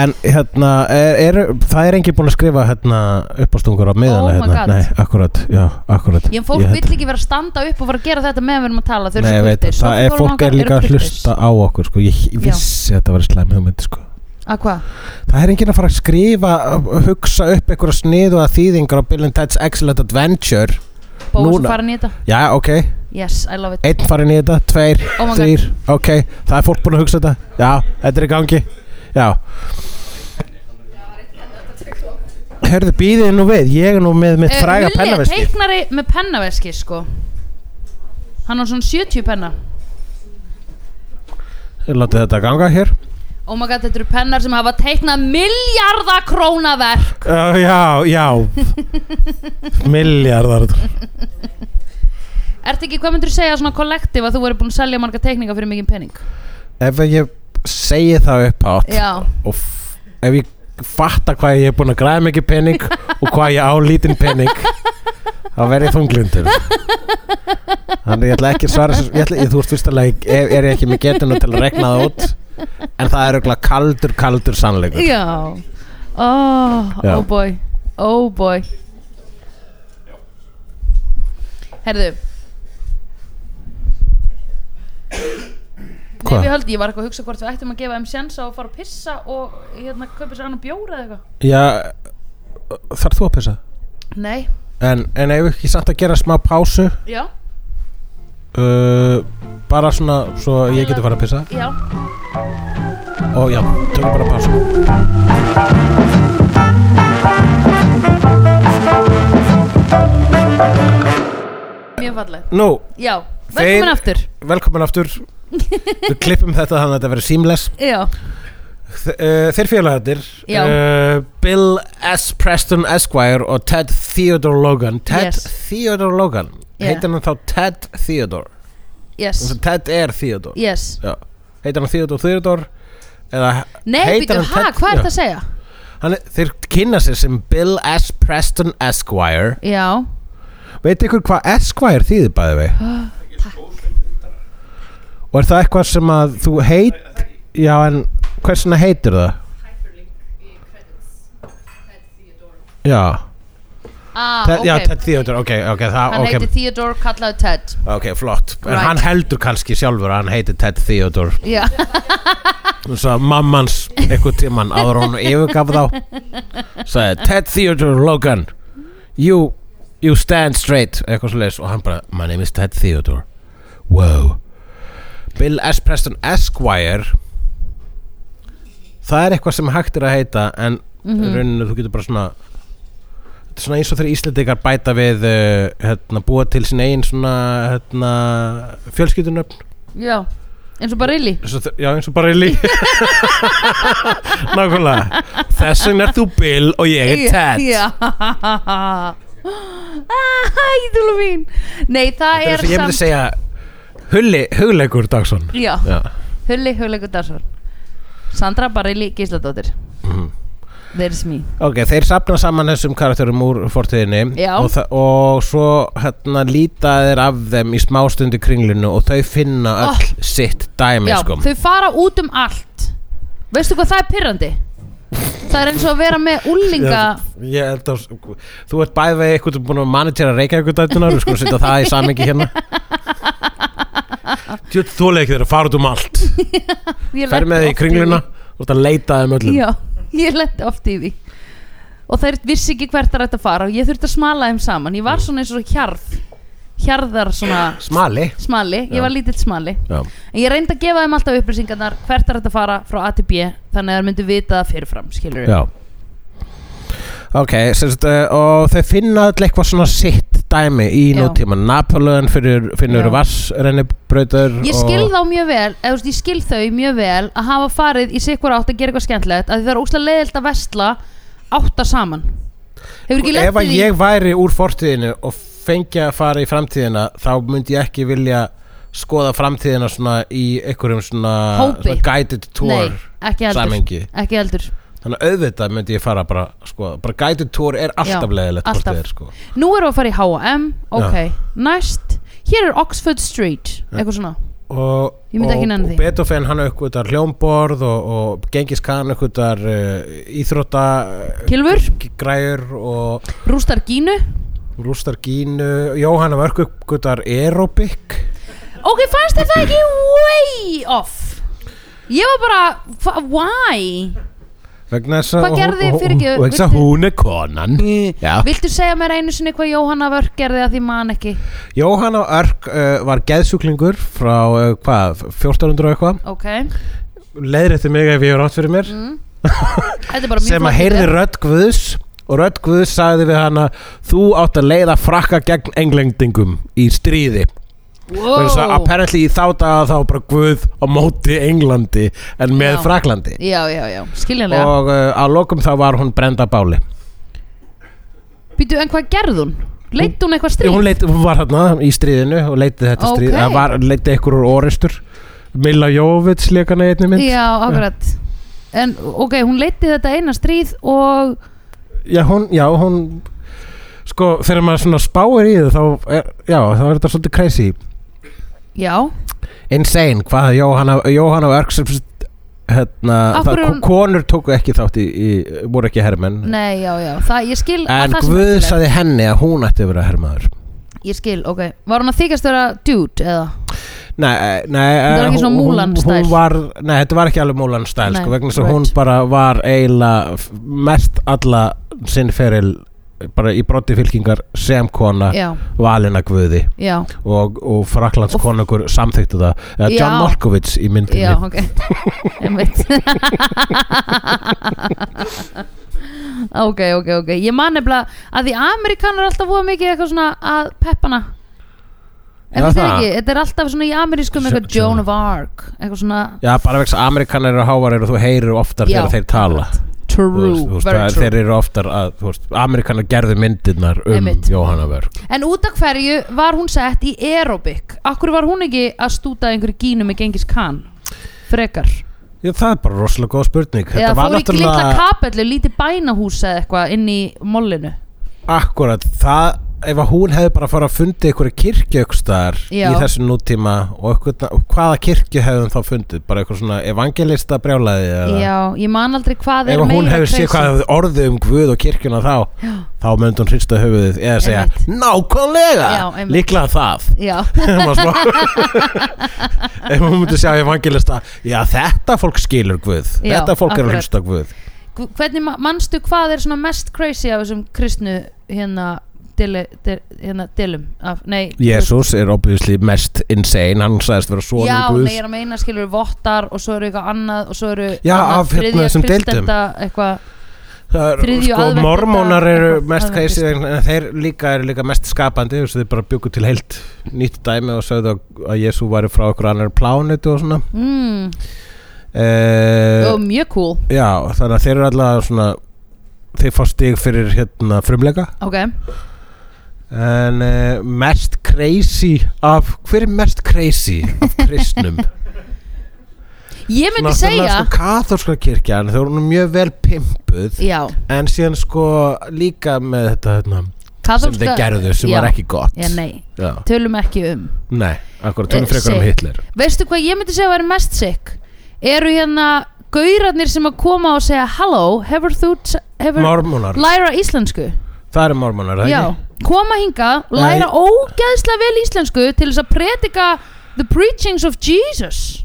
En hérna, er, er, það er enginn búin að skrifa hérna uppástungur á
Oh
miðana
my
hérna.
God.
Nei, akkurat, já, akkurat
Ég en fólk
Ég hérna,
vill ekki vera að standa upp og fara að gera þetta meðan við erum að tala þau eru
Nei, ég
svo
veit,
kurteis.
það er,
Stofnfólk
fólk er
eru
líka að
kurteis.
hlusta á okkur sko. Ég ég vissi að þetta var slæm hugmynd sko.
Að hvað?
Það er enginn að fara að skrifa að hugsa upp einhverja sniðu að þýðingar á Bill and Ted's Excellent Adventure
Bóðs
Núna.
og farin í þetta?
Já, ok,
Yes, I love it
einn farin í þetta, tveir,
Oh my God.
þrýr Ok, það er fólk búin að hugsa þetta Já, þetta er í gangi Já Hörðu, býðið nú við, ég er nú með mitt
Eh, Villi
fræga
er
pennaveski
teiknari með pennaveski sko Hann á svona 70 penna
Ég láti þetta ganga hér
Oh my god, þetta eru pennar sem hafa teiknað miljardakrónaverk
uh, Já, já Miljardar
Ertu ekki, hvað myndur þú segja svona kollektiv að þú verður búin að selja marga teikninga fyrir mikið pening?
Ef ég segi það upp átt
Já,
og f- ef ég fatta hvað ég er búin að græða mikið pening og hvað ég á lítinn pening þá verð ég þunglindur þannig ég ætla ekki að svara þessu- ég ætla, ég, þú veist fyrstulega er, er ég ekki með getuna til að regna það út en það er auðvitað kaldur, kaldur sannleikur
Já Oh,
Já.
oh boy Oh boy Herðu Nei,
Hvað?
við höldum, ég var eitthvað að hugsa hvort við ættum að gefa þeim sjensa og fara að pissa og hérna kaupa sér annan bjóra eða eitthvað
já, þarf þú að pissa?
Nei,
en, en ef ekki samt að gera smá pásu
já,
uh, bara svona svo ég geti fara að pissa
já
og já, tökum bara pásu
Mjög falleg
nú,
Já, velkomin
Þeir-
aftur
velkomin aftur við klippum þetta þannig að þetta verður seamless
Já,
Þe- uh, Þeir félagarnir
Já.
uh, Bill S. Preston Esquire og Ted Theodore Logan Ted
Yes.
Theodore Logan
Yeah.
heitir hann þá Ted Theodore
yes,
Þessi Ted er Theodore
yes
Já. heitir hann Theodore Theodore eða
Nei,
heitir
býtu,
hann
ha,
Ted-
hvað er
Já.
það að segja?
hann, er- þeir kynna sér sem Bill S. Preston Esquire
Já,
veit ykkur hvað Esquire þýðir bæði við
Ah,
og er það eitthvað sem að þú heit já en hversna heitir það já
ah,
Ted,
ok
já, Ted Theodore, ok, ok, það,
Hann
ok,
heitir Theodore, kallaðu Ted
ok, flott En
Right.
hann heldur kannski sjálfur að hann heitir Ted Theodore
Já,
Svo að mammans einhvern tíman áður en hún yfirgaf þá Sagði, Ted Theodore Logan You, you stand straight Eitthvað svo leis og hann bara My name is Ted Theodore Wow Bill S. Preston Esquire Það er eitthvað sem hægt er að heita En mm rauninu þú getur bara svona Þetta er svona eins og þegar Íslendingar bæta við uh, hérna, búa til sín eigin svona hérna, fjölskyldunöfn
já Eins og bara illi
Eins og þe- Já, eins og bara í lí Nákvæmlega Þess vegna er þú Bill og ég er Ted
Já Æðulega mín Nei, það
Þetta er
er
svo ég myndi
samt
segja Hulli, hugleikur Dagsson
Já,
Já,
Hulli Hullegur Darsson Sandra Barilli Gísladóttir
Mhm.
There's me
ok, þeir sapna saman þessum karakterum úr fortíðinni
Já.
og, þa- og svo hérna líta þeir af þeim í smástundu kringlinu og þau finna
Oh.
öll sitt dæmi
Já,
sko.
þau fara út um allt Veistu hvað það er pyrrandi? Það er eins og að vera með úlinga
Já, ég held að sko, þú ert bæði við eitthvað búin að managera reykjavíkudætunar við skulum setja það í samengi hérna Tjótt þóla ekki þeirra fara út um allt
Ég
fer
lenti
með þig
oft
í kringluna þú ert að leita þeim
því.
öllum
Já, ég lendi oft í því Og þær vissi ekki hvert það er að fara Og ég þurfti að smala þeim saman
Mm.
Ég var svona eins og hjarð Hjarðar svona
smali
smali, ég
Já.
var lítill smali
Já.
en ég reyndi að gefa þeim alltaf upplýsingarnar hvert er þetta að fara frá A til B þannig að þeir myndu vita það fyrirfram, skilur við
Já. ok, sérst, og þau finna öll eitthvað svona sitt dæmi í
Já.
nútíma Napoleon fyrir, finnur
Já.
vassrennibrautur
ég skil þá mjög vel, eða þú veist, ég skil þau mjög vel að hafa farið í sikkur átt að gera eitthvað skemmtilegt að því það er óslega leiðilt að vestla átta saman hefur ekki
Sko, ef
lendið
að
í
ég væri úr fortíðinu og fengi að fara í framtíðina þá myndi ég ekki vilja skoða framtíðina svona í einhverjum svona,
Hópi.
svona guided tour
Nei, ekki heldur,
samhengi.
ekki heldur
þannig að auðvitað myndi ég fara bara að skoða, bara guided tour er alltaf
Já,
leðilegt hvort
alltaf.
þið er sko
nú erum við að fara í H&M, ok næst, hér er Oxford Street eitthvað svona,
og,
Ég myndi ekki
og,
nenna því.
og Beethoven hann aukvitaðar hljómborð og, og Genghis Khan aukvitaðar uh, íþrótta eh,
Kylfur?
græjur og
rústar gínu
rústar gínu Jóhann var aukvitaðar aerobik
Ok, fannst þér það ekki way off? Ég var bara, fa- why?
vegna þess að
Hvað gerði-
hún- hún-
fyrirgefðu,
vegna þess að
viltu-
hún er konan Já.
Viltu segja mér einu sinni hvað Jóhanna vörk gerði að því man ekki?
Jóhann á Örk uh, var geðsjúklingur frá uh, hvað, 1400 og eitthvað
Ok,
leiðrétti mig ef ég er rátt fyrir mér
þetta er Mm, bara mjög
sem að
flott
heyrði
idea.
rödd Guðs og rödd Guðs sagði við hana þú átt að leiða frakka gegn englendingum í stríði
wow.
og þess að apparently í þá daga þá var bara Guð á móti Englandi en með
Já.
Fraklandi
Já, já, já, skiljanlega
og uh, að lokum þá var hún brenda báli
Býtu, en hvað gerði hún? Leitt hún eitthvað stríð?
hún, leit, hún var hérna í stríðinu og leiti þetta
Ok.
okay. stríð það var, leiti ykkur úr oristur Milla Jóvits leikana í einni mynd
Já, akkurat En ok, hún leitti þetta eina stríð og
já, hún, já, hún sko, þegar maður svona spáir í það þá er, já, þá er þetta svolítið crazy
Já,
insane hvað Jóhanna, Jóhanna og Örksum hérna,
Af
það,
hverju hún-
konur tóku ekki þátt í, í voru ekki hermenn
nei, já, já Það, ég skil að
en
það sem
Guð
er
saði henni að hún ætti að vera hermaður
merkilegt. Ég skil, ok Var hún að þykast vera dude, eða?
Nei, nei
Þetta var
eh,
ekki svona
hún- hún-
Mulan-stæl.
hún var, Nei, þetta var ekki alveg Múlan stæl
Nei,
sko, vegna þess að
right.
hún bara var eiginlega f- mest alla sinn feril bara í brotti fylkingar sem kona
Já,
valina guði
já,
og, og Fraklands
Og-
konungur samþyktu það eða
Já.
John Malkovich í myndinni
já, ok Einmitt Ok, ok, ok Ég man nefnilega að því Amerikanar er alltaf voða mikið eitthvað svona að peppana En
Já,
þetta er
það.
ekki, þetta er alltaf svona í amerískum eitthvað
Sjá-
Joan of Arc Eitthvað svona
Já, bara vegna þess að amerikanar eru hávarir og þú heyrir oftar
Já.
þegar þeir tala Þú
true,
veist, þú veist,
very
það-
true
Þeir eru oftar að, þú veist, amerikanar gerðu myndirnar um
Einmitt.
Jóhanna Vörg
En út af hverju var hún sett í aerobik? Akkur var hún ekki að stúta einhverju gínu með gengis kan? Frekar
Já, það er bara rosalega góð spurning Þetta
Eða
var
fór ekki
náttúrulega-
litla kapellu, lítið bænahús eða eitthvað inn í mollinu
Akkurat, það ef að hún hefði bara farið að fundi ykkur kirkjökstar í
Já.
þessu nútíma og, ykkur, og hvaða kirkju hefði hún þá fundið bara eitthvað svona evangelista brjálæði eða-
Já, ég man aldrei hvað
ef
er
að hún
meira
hefði séð hvað hefði orðið um Guð og kirkjuna þá
Já.
þá myndi hún hrista höfuðið eða segja
Einmitt.
nákvæmlega,
Já, einmitt.
líklega það
Já,
Hún var smá- ef hún myndi sjá evangelista já þetta fólk skilur Guð
Já,
þetta fólk er að
akkurat.
hrista Guð
Hv- hvernig ma- manstu hvað er svona mest crazy af þessum kristnu hérna dili, dil, hérna dilum af, nei,
Jésús er obviously mest insane hann sagðist vera
þú veist-
sonur
Já,
Guðs
nei, ég er að meina skilur vottar og svo eru eitthvað annað og svo eru
Já,
annað
af, hérna,
þriðja
þessum deildum.
kristenda eitthvað
Það er,
Þriðju
sko,
aðventu
mormónar
dag,
eru
eitthvað,
mest
aðventist.
kreisir en en þeir líka eru líka mest skapandi þess að þeir bara byggu til heilt nýtt dæmi og sögðu að- að Jésu væri frá okkur annar plánetu og svona
mm,
e,
og mjög cool
Já, þannig að þeir eru allavega svona þeir fá stig fyrir hérna frumleika
ok,
en e, mest crazy af, hver er mest crazy af kristnum?
ég myndi
Náttúrulega,
segja
sko, Kathórska kirkjan, þeir eru mjög vel pimpuð
já,
en síðan sko líka með þetta hérna, sem þeir
katholska
gerðu sem
já.
var ekki gott
já, nei,
Já.
tölum ekki um
Nei, akkurat, tölum
Eh,
frekar um
sick.
Hitler
veistu hvað ég myndi segja að vera mest sick eru hérna gaurarnir sem að koma og segja hello, hefur þú t- hefur
Mormonar,
læra íslensku
það eru mormonar, það
já,
ekki?
koma hingað, læra
Nei.
ógeðslega vel íslensku til þess að predika the preachings of Jesus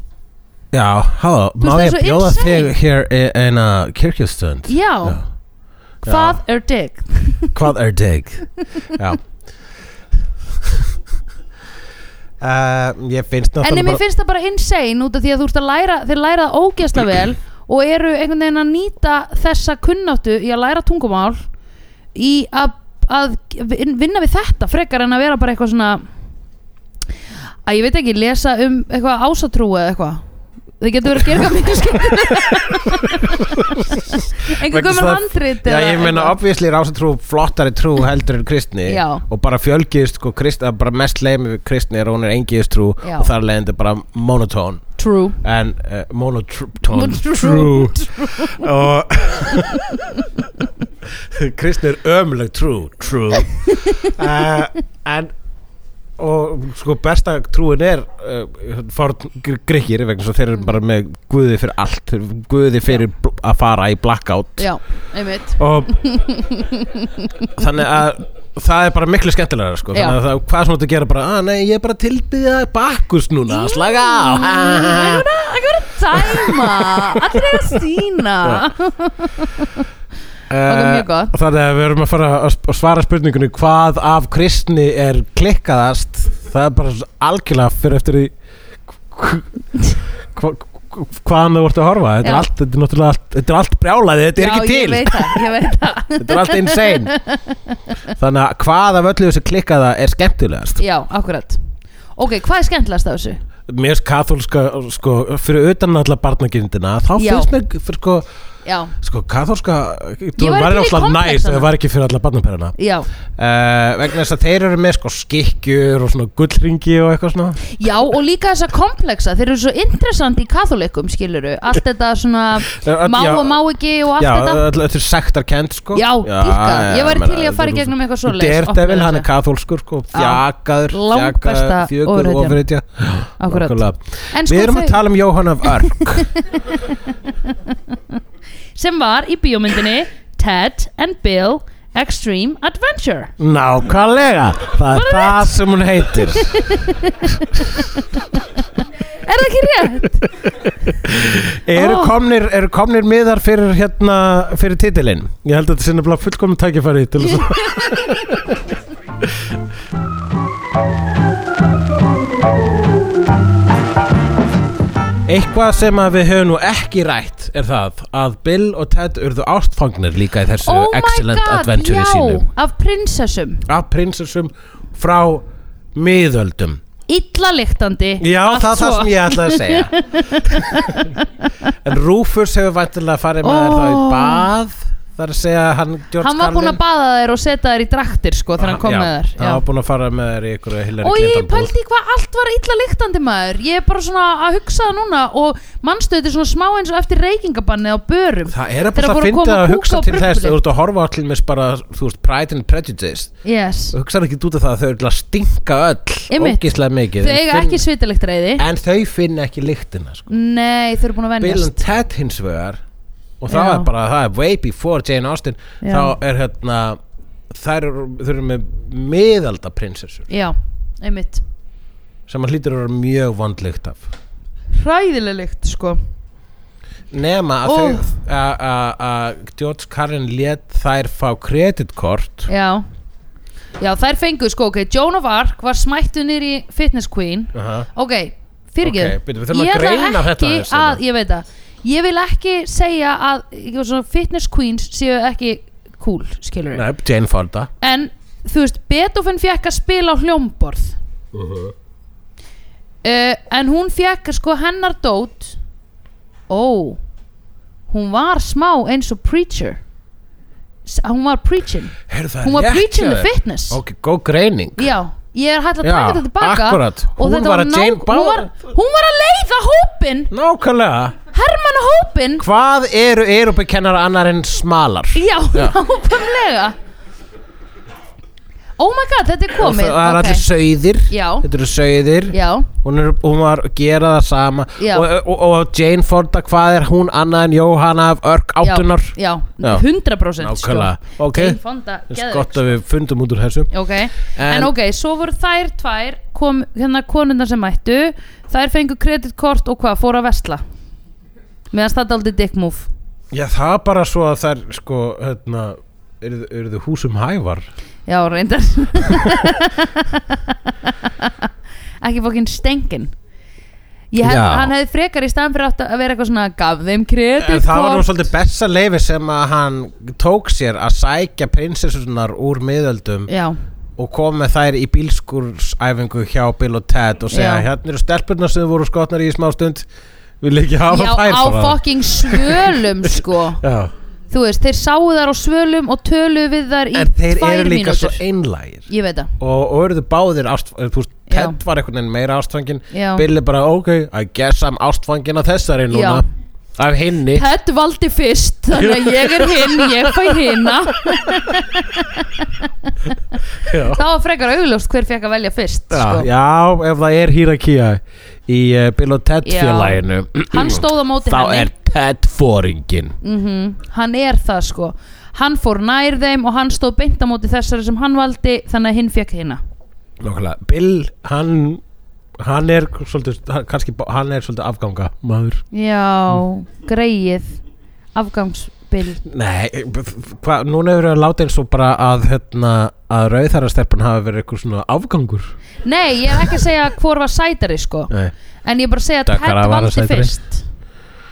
Já, halló, má
veist, það er
ég
svo
bjóða
insane.
þig hér í- eina kirkjustönd
já, hvað er digg
Hvað er dig? Já Uh, ég finnst
en
náttúrulega
mér
bara
finnst það bara insane út af því að þú ert að læra þeir læra það ógeðslega vel og eru einhvern veginn að nýta þessa kunnáttu í að læra tungumál í að, að vinna við þetta frekar en að vera bara eitthvað svona að ég veit ekki, lesa um eitthvað ásatrú eða eitthvað þið getur verið að gera eitthvað mikið skemmt einhver
Vegna þess
gömur
að-
handrit
Já,
eða
ég meina,
eitthvað.
obviously er ásatrú flottari trú heldur en kristni
Já.
og bara fjölgiðist, sko, krist, að bara mest leiðum við kristni er að hún er engiðist trú
Já.
og þar leiðandi bara monotón
true
en uh, monotone
True.
og kristni er ömuleg true true uh, en og sko besta trúin er uh, forn gr- grikkir vegna svo þeir eru bara með guði fyrir allt þeir eru guði fyrir bl- að fara í blackout
já, einmitt
og þannig að það er bara miklu skemmtilega sko.
Já.
þannig að það, hvað sem þú gera bara að nei ég er bara að tilbyðja bakkus núna slaga á ha, ha, ha."
ekki verið að dæma allir er að sína Ok, mjög gott.
Eh, Þannig að við erum að fara að sp- að svara spurningunni hvað af kristni er klikkaðast það er bara algjörlega fyrir eftir því hv- hv- hv- hvaðan þú vart að horfa þetta
Já.
er, allt, þetta, er náttúrulega allt, þetta er allt brjálæði þetta er
já, ég
ekki til,
veit það, ég veit það
þetta er allt insane þannig að hvað af öllu þessu klikkaða er skemmtilegast
Já, akkurat Ok, hvað er skemmtilegast af þessu?
mér er katholska sko, fyrir utan alla barnagindina þá
Já.
finnst mér fyrir sko
já,
Sko, katholska
Ég
Ég
var
var
til í
náttúrulega næst
konfektana.
Það var ekki fyrir alla barnaperina
já
uh, Vegna þess að þeir eru með sko skikkjur og svona gullringi og eitthvað svona
Já, og líka þessa kompleksa þeir eru svo interessant í katholikum, skiluru allt þetta
Já,
svona
öll-
má
já.
og má ekki og allt
Já,
þetta
öll- þetta er sektarkend sko
Já, dýrka. Ég væri til í að fara í gegnum eitthvað svoleiðis, opna
Daredevil,
þessa.
hann er katholskur sko
Já.
Þjakaður,
Langbesta
fjögur
ofurhetjan.
ofriðja
Akkurat. En
Við
sko
erum
þau-
að tala um Jóhann af Örk
sem var í bíómyndinni Ted and Bill Extreme Adventure
Nákvæmlega, það er
Bara
það sem hún heitir
Er það ekki rétt?
Eru
Ó.
komnir, eru komnir miðar fyrir hérna, fyrir titilinn? Ég held að þetta sinna blá fullkomum tækifæri til þess að Eitthvað sem að við höfum nú ekki rætt er það að Bill og Ted urðu ástfangnir líka í þessu
oh my
Excellent
god,
Adventure
já,
sínu
af prinsessum
af prinsessum frá miðöldum
illaliktandi
Já, það er það sem ég ætlaði að segja En Rufus hefur vantilega farið með þær þá í
Ó.
bað Það er að segja hann George
Hann var búinn að
Carlin-
baða þær og setja þær í draktir sko þegar hann kom
Já,
með þær
Hann var búinn að fara með þær í ykkur Hillary
Og ég
Clinton búð.
pældi í hvað allt var illa lyktandi maður Ég er bara svona að hugsa það núna Og mannstu þetta er svona smá eins og eftir reykingabanni á börum
Það er að
Þegar
bara að
voru
finna
koma
að
kúka
hugsa
og
til þess
brubbulinn.
Þú ert að horfa allir með bara, þú veist, Pride and Prejudice
Yes
Þú hugsaði ekki út af það að þau eru að stinka öll
Einmitt.
Ógislega mikið
Þau
En
eiga ekki Mm. svitalikt reyði
En þau finna ekki lyktina sko.
Nei, þau eru búin að
Bill and
venjast
Ted hins vegar og það
Já.
er bara, það er way before Jane Austen
Já.
þá er hérna þær eru, þær eru með miðalda prinsessur
Já, einmitt
sem að hlýtur að vera mjög vandlegt af
Hræðileg lykt sko
nema að
Ó.
oh. þau a- a- að George Carlin let þær fá kreditkort
Já Já, þær fengu sko, ok, Joan of Arc var smættu nýri fitness queen
uh -huh.
Ok, fyrir ekki
Ok, byrju, við þurfum að greina þetta
ekki
aðeins,
að,
hérna.
Ég veit það Ég vil ekki segja að ég var svona, fitness queens séu ekki cool, skilur
Nei, Jane Fonda
En, þú veist, Beethoven fekk að spila á hljómborð
Mhm.
uh, En hún fekk sko hennar dót Ó Hún var smá eins og preacher S Hún var preaching
Heru,
Hún var preaching the fitness
ok, góð greining
Já, ég er hægt að
Já,
taka þetta tilbaka
akkúrat.
og
Hún
þetta
var að
ná-
Jane
hún
Bauer.
var, hún var að leiða hópin
nákvæmlega
Hermanna hópin
hvað eru erupikennara annar en smalar
Já,
Já.
nákvæmlega Oh my god, þetta er
og
komið
það er
Ok.
allir sauðir
Já.
þetta eru sauðir
Já,
hún, er, hún var að gera það sama
Já.
og, og, og Jane Fonda hvað er hún annað en Jóhanna af örk
já,
áttunar
já,
Já.
100% sko.
nákvæmlega ok,
Jane Fonda,
þess
geðveik,
gott að við fundum út úr þessu
Ok, en,
En-
ok, svo voru þær tvær kom hérna konundar sem mættu þær fengu kreditkort og hvað, fóru að vesla meðan það er aldrei dick move
já það er bara svo að þær sko hérna eru, eru þau húsum hævar
Já, reyndar Ekki fokkin stengin Ég held
Já.
að hann hefði frekar í staðan fyrir átt að vera eitthvað svona gaf þeim
en
kredit
það var nú svolítið besta leifi sem að hann tók sér að sækja prinsessunar úr miðöldum
Já,
og kom með þær í bílskursæfingu hjá Bill og Ted og segja
Já.
hérna eru stelpurnar sem voru skotnar í smá stund vil ekki hafa
Já
þær
á
bara?"
fokkin svölum sko
Já.
Þú veist, þeir sáu þar á svölum og töluðu við þar í
en þeir
tvær
eru líka
mínútur
svo einlægir
Ég veit það
og, og eru þau báðir ást, eh, þú veist,
Já.
Ted var einhvern veginn meira ástfangin
Já.
Bill er bara ok, I guess I'm ástfangin af þessari núna
Já.
af henni
Ted valdi fyrst, þannig að ég er hinn, ég fæ hinna
já.
Það var frekar augljóst hver fekk að velja fyrst
Já,
sko.
já, ef það er hýrakía í uh, Bill og Ted
Já.
félaginu
Hann stóð á móti
þá
henni Mhm.
er Ted fóringin
hann er það sko hann fór nær þeim og hann stóð beint á móti þessari sem hann valdi þannig að hinn fekk hérna
Nókulega, Bill, hann hann er svolítið, hann- kannski, bá- hann er svolítið afganga maður
já,
Mm.
greið afgangsbill
Nei, hva, núna hefur við að láta eins og bara að, hérna, að rauðarastelpun hafi verið eitthvað svona afgangur
nei, ég er ekki að segja hvor var sætari sko
Nei
en ég er bara að segja að
Dökkara
Ted
var
valdi
sætari.
fyrst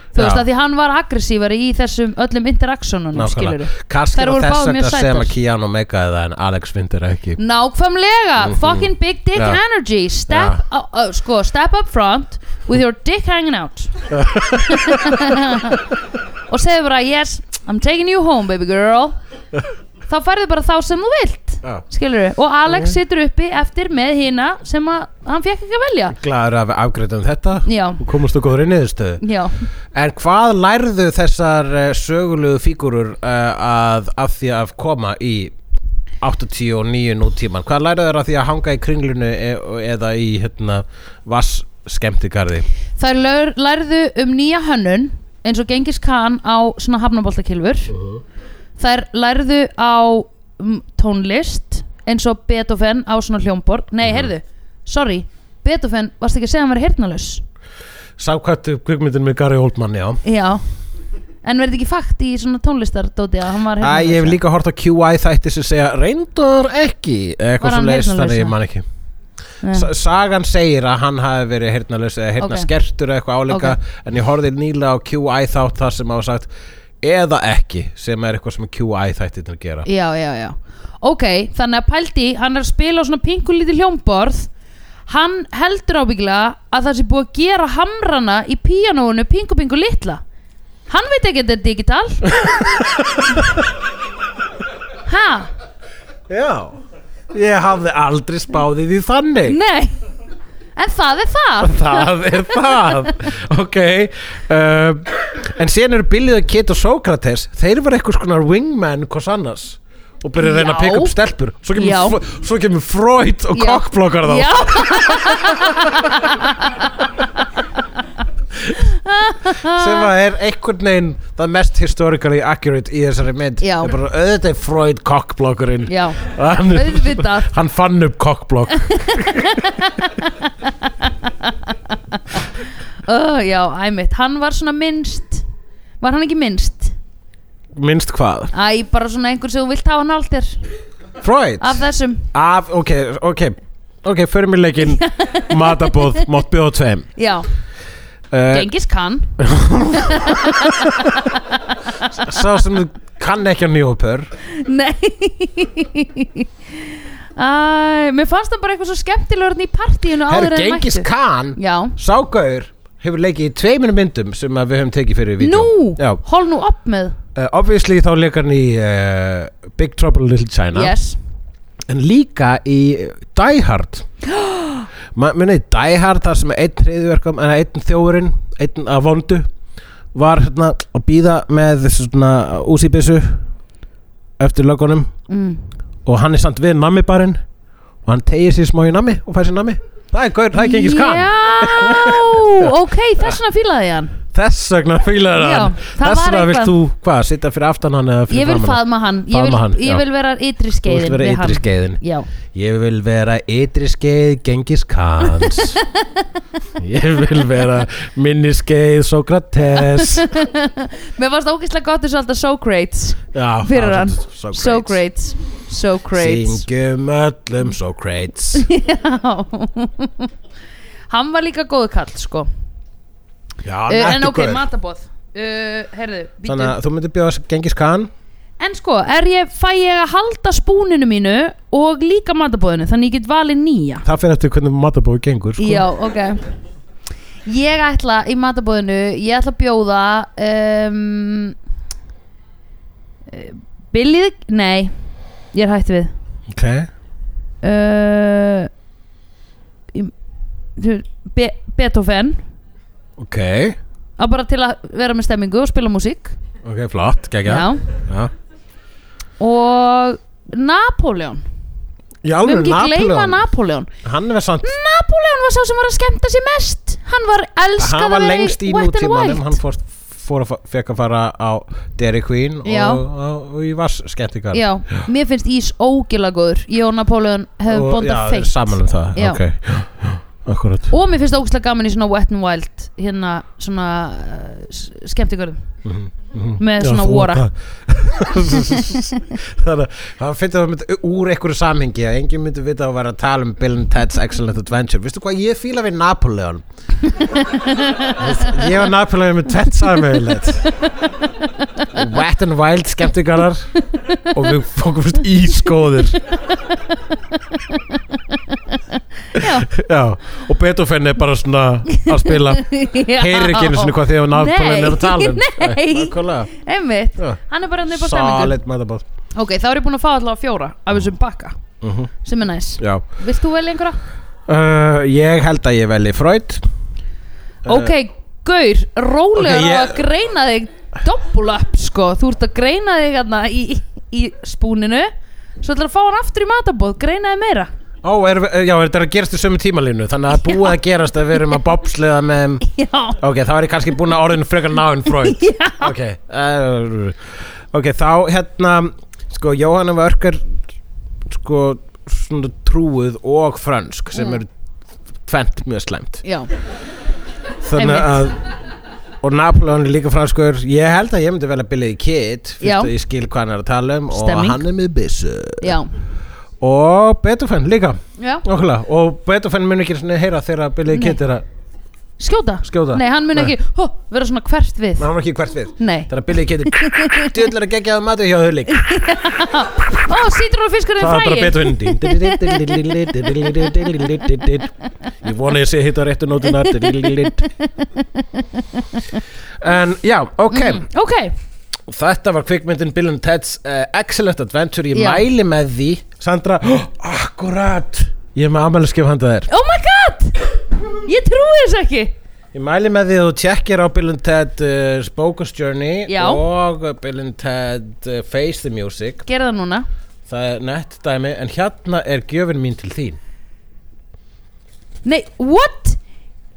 þú
Já.
veist að því hann var aggressífari í þessum öllum interaktsjónunum skilur
Kanski
Þær
er
voru
þess
báðar mjög
vegna sem
sætar. Mm.
að Keanu meikaði það en Alex Vindur ekki
nákvæmlega, fucking big dick
Mhm. Já.
energy step,
Já.
uh, uh, sko, step up front with your dick hanging out og segðu bara yes, I'm taking you home baby girl þá færðu bara þá sem þú vilt
Já.
skilur og Alex situr uppi eftir með hína sem að hann fekk ekki að velja
Glæður að við afgreitum þetta
Já.
og komast þú góður inn í þessu
já,
En hvað lærðu þessar eh, sögulegu fígurur eh, að, að því að koma í 89 nútíman? Hvað lærðu þeir að því að hanga í kringlunu e eða í hérna, vass skemmtigarði?
þær lör, lærðu um nýja hönnun eins og Gengis Khan á svona hafnaboltakilfur þær lærðu á mm, tónlist eins og Beethoven á svona hljómborg nei, heyrðu, sorry Beethoven, varst ekki að segja að hann var heyrnalaus
Sákvættu kvikmyndin með Gary Oldman, já.
Já En verði ekki fakt í svona tónlistardóti að hann var
Æ, ég hef
heyrnarlaus?
líka hort á QI þætti sem segja reyndar ekki eða
Var
eitthvað
hann
sem leist
heyrnarlaus,
þannig
eða?
ég man ekki
Nei.
Sa- Sagan segir að hann hafi verið heyrnalaus eða heyrnaskertur eða eitthvað áleika en ég horfði nýlega á QI þátt þar sem hafa sagt eða ekki sem er eitthvað sem QI þættir að gera
Já, já, já Ok, þannig að Pældi, hann er að spila á svona pinkulítið hljómborð Hann heldur ábyggilega að það sé búið að gera hamrana í píanóinu pingu pingu litla Hann veit ekki að þetta er digital Ha?
Já, ég hafði aldrei spáðið í þannig
Nei En það er það
það er það ok um, en síðan eru Billy the Kid og Sókrates þeir voru eitthvað skonar wingman hvers annars og byrja að reyna að
Já.
pikka upp stelpur svo
Já.
kemur, Fr- svo kemur Freud og
Já.
kokkblokkar þá
Já
sem að er einhvern veginn það mest historically accurate í þessari mynd
Já.
er bara auðvitað er Freud kokkblokkurinn
Já.
hann,
Auðvitað.
hann fann upp kokkblokk
Ö, Já, æmitt, hann var svona minnst Var hann ekki minnst?
minnst hvað
Æ, bara svona einhver sem þú vilt hafa nált þér
Freud
Af þessum
af, ok, ok ok, förum í leikinn matabóð, mátt bjóða tveim
Já,
uh,
Gengis kann
sá sem kann ekki á nýjópör
Nei Æ, mér fannst það bara eitthvað svo skemmtilegur þarna í partíinu
Herru,
áður en
Gengis
mættu.
Khan
Já
Ságaur hefur leikið í tveiminu myndum sem að við höfum tekið fyrir í vídeo
Nú,
Já,
hol nú upp með
uh, obviously þá leikar hann í uh, Big Trouble in Little China
Yes
En líka í uh, Die Hard Ma- Munið, þið Die Hard þar sem einn hriðverkum, en einn þjófurinn einn af vondu var hérna að býða með þessu svona úsýbissu eftir lögunum
mm.
og hann er samt við nammi barinn og hann tegir sér smá í nammi og fær sér nammi það er gaur, það er gengis kann
Já, ok, þess vegna fílaði ég hann
þess vegna fílar
Já,
hann
það
þess
var
vegna vilt
eitthvað.
þú, hvað, sitja fyrir aftan hann eða fyrir
Ég vil
framan
faðma
hann?
hann Ég vil,
Faðma hann, já.
ég vil vera ytri
Þú vilt
skeiðin
vera
við
ytri
hann.
skeiðin
Já,
Ég vil vera ytri skeið gengis kans Ég vil vera minni skeið Sokrates
mér fannst ógeðslega gott þessu alltaf Socrates
Já,
Fyrir
það er
hann.
svolítið Sókrates.
Socrates Socrates
Syngjum öllum Sokrates
Já Hann var líka góðu kall sko uh,
Já,
Eh, En
nettu
ok,
gaur.
matabóð uh, Herðu,
Þannig
býtum
að þú myndir bjóða gengis kann
En sko, er ég, fæ ég að halda spúninu mínu og líka matabóðinu Þannig ég get valið nýja
Það fyrir eftir hvernig matabói gengur sko.
Já, ok Ég ætla í matabóðinu Ég ætla að bjóða um, eh, Billy the- Nei, ég er hætt við
Ok
uh, í- þú- Be Beethoven
Ok,
að bara til að vera með stemmingu og spila músík
ok, flott, gegja Já,
og Napoleon
Já
við
alveg
erum ekki að gleyma
Napoleon
Napoleon
Hann er samt
Napoleon var sá sem var að skemmta sér mest hann var elskað
hann var
að vera í
lengst í
Wet n
nútímanum
Wild.
hann fór, fór að fekk að fara á Dairy Queen og,
Já.
og, og í vass skemmtikar
já, mér finnst Ís ógila góður ég og Napoleon hefum
og
bondað
já,
feitt
saman um það
Já.
ok, akkurat
og mér finnst það ógæslega gaman í svona Wet n Wild hérna svona uh, skemmtigörðum með svona vora
þannig að hann finnst það myndi, úr einhverju samhengi að enginn myndi vita að vera að tala um Bill and Ted's Excellent Adventure veistu hvað ég fíla við Napoleon ég og Napoleon með tvett samvegilegt Wet and Wild skemmtigarar og við fókumst ískóðir
já,
já, og Beethoven er bara svona að spila
já.
heyrir ekki einu sinni hvað því að Napoleon er að tala um
Nei, nei.
nákvæmlega
einmitt
Já.
hann er bara hann upp á stemningu
Solid motherboard
ok, þá er ég búin að fá allavega fjóra af þessum bakka
Mhm.
sem er næs
Já
vilt þú velja einhverja?
Uh, ég held að ég velji Freud Uh,
ok, gaur, rólegur
ok,
okay,
ég-
að greina þig doppul upp sko, þú ert að greina þig hérna í, í spúninu svo ætlar að fá hann aftur í matabóð greina þig meira
Ó, er, uh, já, þetta er að gerast í sömu tímalínu Þannig að það er búið að gerast að við erum að bobsleða með
já,
Ok, þá er ég kannski búin að orðin frekar náinn Freud Ok, uh, ok, þá hérna Sko, Jóhanna var örkar Sko, svona trúið og frönsk Sem
Mm.
eru tvent mjög slæmt
já,
Þannig að Og Napoleon er líka franskur Ég held að ég myndi velja Billy the Kid Fyrst
Já.
að ég skil hvað hann er að tala um
Stemming.
Og hann er með byssu
já,
Og Beethoven líka
já.
Okkurlega, og Beethoven mun ekki svona heyra þegar Billy
Nei.
Kid er að
skjóta,
Skjóta.
nei, hann mun
Nei.
ekki hó, vera svona hvert við
Ná, hann var ekki hvert við
nei,
Þegar Billy Kid er Djöðlar að gegja að matu hjá þau lík
ó, sítur hún fiskur
Það er bara
þið fræi
Beethoven Ég vona ég sé hitt á réttu nótuna En já, ok
Mm. ok,
Þetta var kvikmyndin Bill and Ted's uh, Excellent Adventure Ég
Já.
mæli með því Sandra, akkurat Ég er með amæliskef handa þér
oh my god ég trúi þess ekki
Ég mæli með því að þú tjekkir á Bill and Ted uh, Spokus Journey
Já.
og Bill and Ted uh, Face the Music
gera það núna,
Það er nett dæmi en hérna er gjöfin mín til þín
nei, what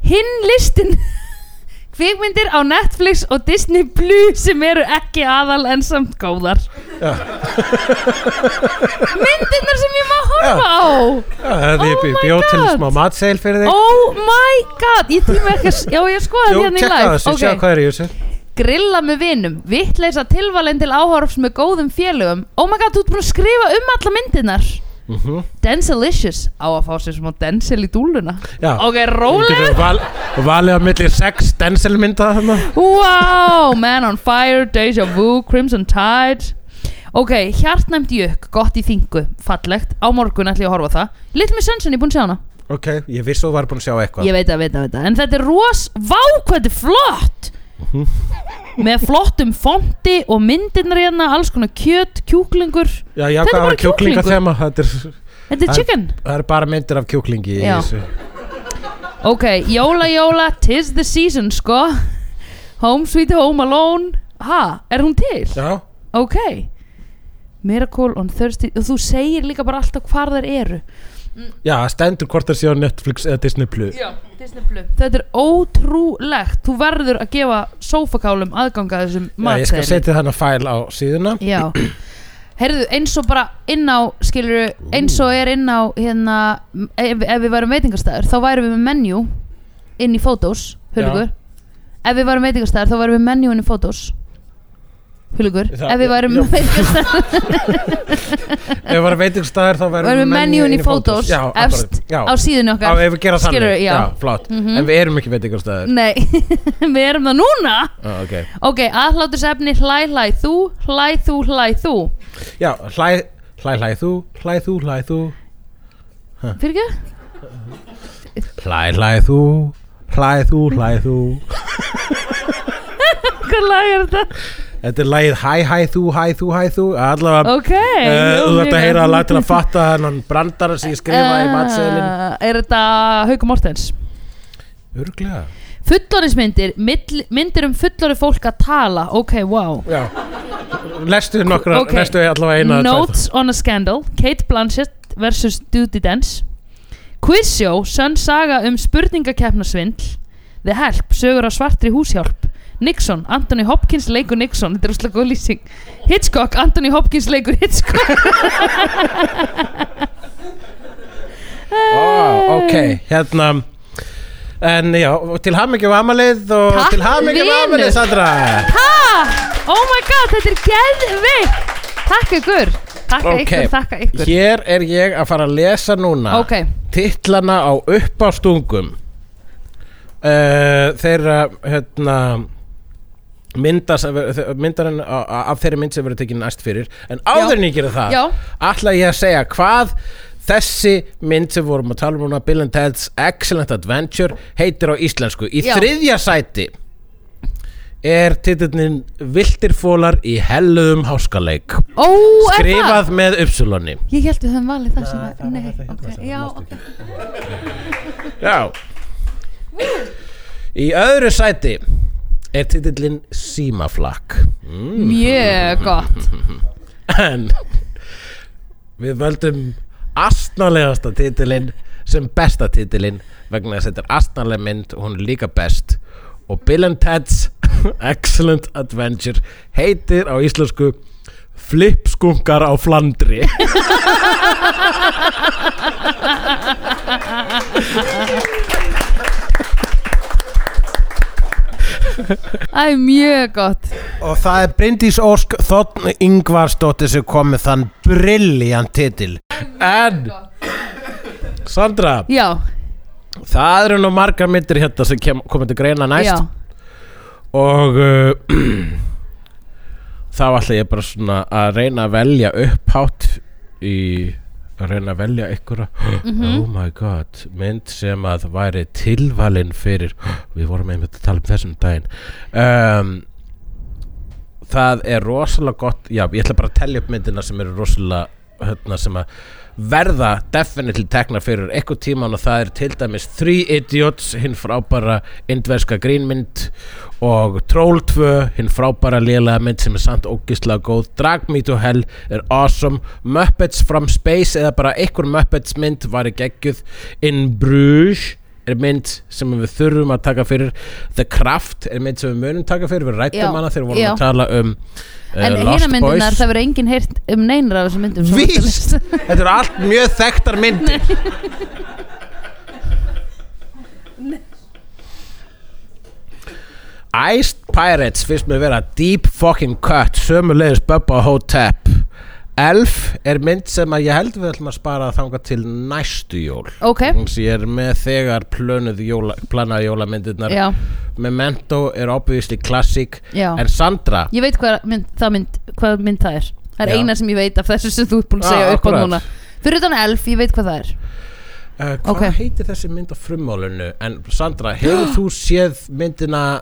hinn listin kvikmyndir á Netflix og Disney Blue sem eru ekki aðal en samt góðar myndirnar sem ég má horfa á
Það
ég
er
bjó-
oh
my
bjóð til
God.
smá matseil fyrir þig
oh my god ég tíma ekki að, s- já ég skoða
Jú,
því hérna í
tjekka
live
þessu,
Ok.
sjá hvað er í þessu
grilla með vinum, vittleisa tilvalin til áhorfs með góðum félögum oh my god, þú ert búin að skrifa um alla myndirnar
mm
Denzelicious á að fá sér smá Denzel í dúluna
Já.
ok, rólega
val, Valið á milli sex denselmynda þarna
wow, Man on Fire, Deja Vu, Crimson Tide ok, hjartnæmt jökk, gott í þingu fallegt, á morgun ætlum ég að horfa á það Little Miss Sunshine, ég er búin að sjá hana
Ok, ég vissi þú var búin að sjá eitthvað
ég veit að, veit að, veit að, en þetta er ros vá hvað þetta er flott með flottum fonti og myndirnar hérna, alls konar kjöt kjúklingur,
Já, já,
Þetta er
hvað
bara
var kjúklinga
kjúklingur.
þema Þetta er,
þetta er
Það-
chicken
það er bara myndir af kjúklingi í
Já.
þessu
ok, jóla jóla, tis the season sko home sweet home alone ha, er hún til?
Já,
ok Miracle on Thursday og þú segir líka bara alltaf hvar þær eru
já stendur hvort það sé á Netflix eða Disney Plus
já, þetta er ótrúlegt þú verður að gefa sófakálum aðganga að þessum
Já, ég skal
matseðli.
setja þannig fæl á síðuna
Já Herðu, eins og bara inn á skilur, eins og er inn á hérna, ef, ef við værum veitingastæður þá værum við með menjú inn í fótós, hulugur ef við værum veitingastæður þá værum við með menjú inn í fótós hulugur,
Það-
ef við værum
já.
veitingastæður
Ef við varum veitingstæðir þá verðum
værum við menjún í fótós
Já,
efst
akkurat. já.
á síðunni
Já,
okkar
ef við gera þannig
Skilurðu, já.
flott
Mhm. Mm.
En við erum ekki veitingstæðir
Nei, við erum það núna
ah, okay.
Ok, aðhlátusefni hlæ hlæ þú hlæ þú hlæ þú
Já, hlæ, hlæ, hlæ þú, hlæ þú, hlæ þú
Fyrir ekki?
Hlæ, hlæ þú, hlæ þú, hlæ þú
Hvað lag er þetta?
Þetta er lagið hæ, hæ þú, hæ þú, hæ þú Allavega
Ok
Eh, Þú
jú,
þarft að
mjög
heyra
vel.
að lag til að fatta hennan brandara sem ég skrifaði í matseðlinn
Eh, Er þetta Hauku Mortens?
Örglega
Fullorðismyndir, mill- myndir um fullorði fólk að tala Ok, wow
Já Lestu nokkra,
Ok.
lestu allavega eina eða tvær.
Notes on a Scandal, Kate Blanchett versus Duty Dance Quizshow, sönn saga um spurningakeppnasvindl The Help, sögur á svartri húshjálp Nixon, Anthony Hopkins leikur Nixon Þetta er úrslega góð lýsing Hitchcock, Anthony Hopkins leikur Hitchcock
oh, Ok, hérna En já, og til hamingjum amalið og
Takk,
til hamingjum
vinur.
amalið, Sandra
Ha! Oh my god, þetta er geðvikt Takk ykkur Takka
Ok.
ykkur, takka ykkur
Hér er ég að fara að lesa núna
Ok,
titlana á uppástungum uh, þeirra hérna mynda, myndarinn á- á- af þeirri mynd sem verður tekin næst fyrir en áður en ég gera það
Já.
ætla ég að segja hvað þessi mynd sem við vorum að tala um núna Bill and Ted's Excellent Adventure heitir á íslensku í
Já.
þriðja sæti er titillin Viltir fólar í helluðum háskaleik
Ó, er það?
skrifað með uppsulunni
Ég held við höfum valið það hérna sem að, nei,
það-
ok,
það- það-
já,
næstu
ok
Já Í öðru sæti er titillin Símaflakk mm.
Mjög gott
en við völdum astnalegasta titilinn sem besta titilinn vegna þess að þetta er astnaleg mynd og hún er líka best og Bill and Ted's Excellent Adventure heitir á íslensku Flipskunkar á Flandri
Það er mjög gott
Og það er Bryndís Ósk Þotn Yngvarsdóttir sem kom með þann brilljant titil En Sandra,
Já,
það eru nú margar myndir hérna sem kem- koma til greina næst
já
og uh, þá ætla ég bara svona að reyna að velja upphátt í að reyna að velja einhverja oh my god, mynd sem að væri tilvalin fyrir við vorum einmitt að tala um þessum daginn um, það er rosalega gott já, ég ætla bara að tellja upp myndina sem eru rosalega hérna, sem að verða definitely tekna fyrir eitthvað tíman og það er til dæmis Three Idiots hinn frábæra indverska grínmynd og Troll 2 hinn frábæra lélega mynd sem er samt ógislega góð Drag Me to Hell er awesome Muppets from Space eða bara einhver Muppets mynd var í geggjuð In Bruges er mynd sem við þurfum að taka fyrir The Craft er mynd sem við munum taka fyrir við
Já,
rættum hana þegar við vorum
já.
að tala um uh,
En
Lost
hérna myndunar,
Boys
það verður enginn heyrt um neinar af þessum myndum sem
Víst!
þú telst.
Þetta eru allt mjög þekktar myndir Iced Pirates finnst mér vera deep fucking cut sömulegis Bubba Hotep Elf er mynd sem að ég held við ætlum að spara að þanga til næstu jól
Ok,
Þannig að ég er með þegar plönuð jóla, planaði jólamyndirnar
já,
Memento er obviously klassik
já
en Sandra
Ég veit hvað mynd það, mynd, hvað mynd það er Það er
Já.
eina sem ég veit af þessu sem þú ert búin að
Ah,
segja upp á
akkurat.
núna Fyrir utan elf, ég veit hvað það er
Uh, hvað
Ok.
heitir þessi mynd á frummálinu? En Sandra, hefur þú séð myndina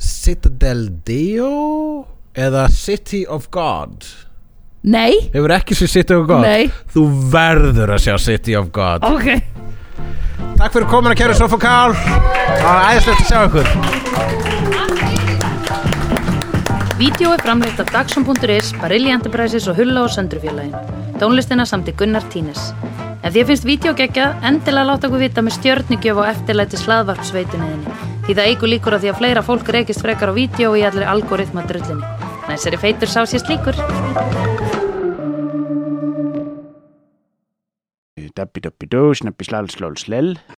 Citadel Dio eða City of God?
Nei,
Hefur ekki séð City of God?
Nei.
Þú verður að sjá City of God.
ok
Takk fyrir komin að kæra Sofokál. Það var æðislegt að sjá ykkur.
Vídeó er framleitt af Dagsum.is, Barilli Enterprises og Hulla og Söndrufjörlægin. Tónlistina samt í Gunnar Tínes. Ef því að finnst vídeo geggja, endilega láta okkur vita með stjörnugjöf og eftirlæti slaðvarpsveitunniðinni. Því það eigur líkur að því að fleira fólk reykist frekar á vídeo og í allir algoritma drullinni. Næsari feitur sá sér slíkur.
Dabbi dabbi dó, snabbi slal slól slell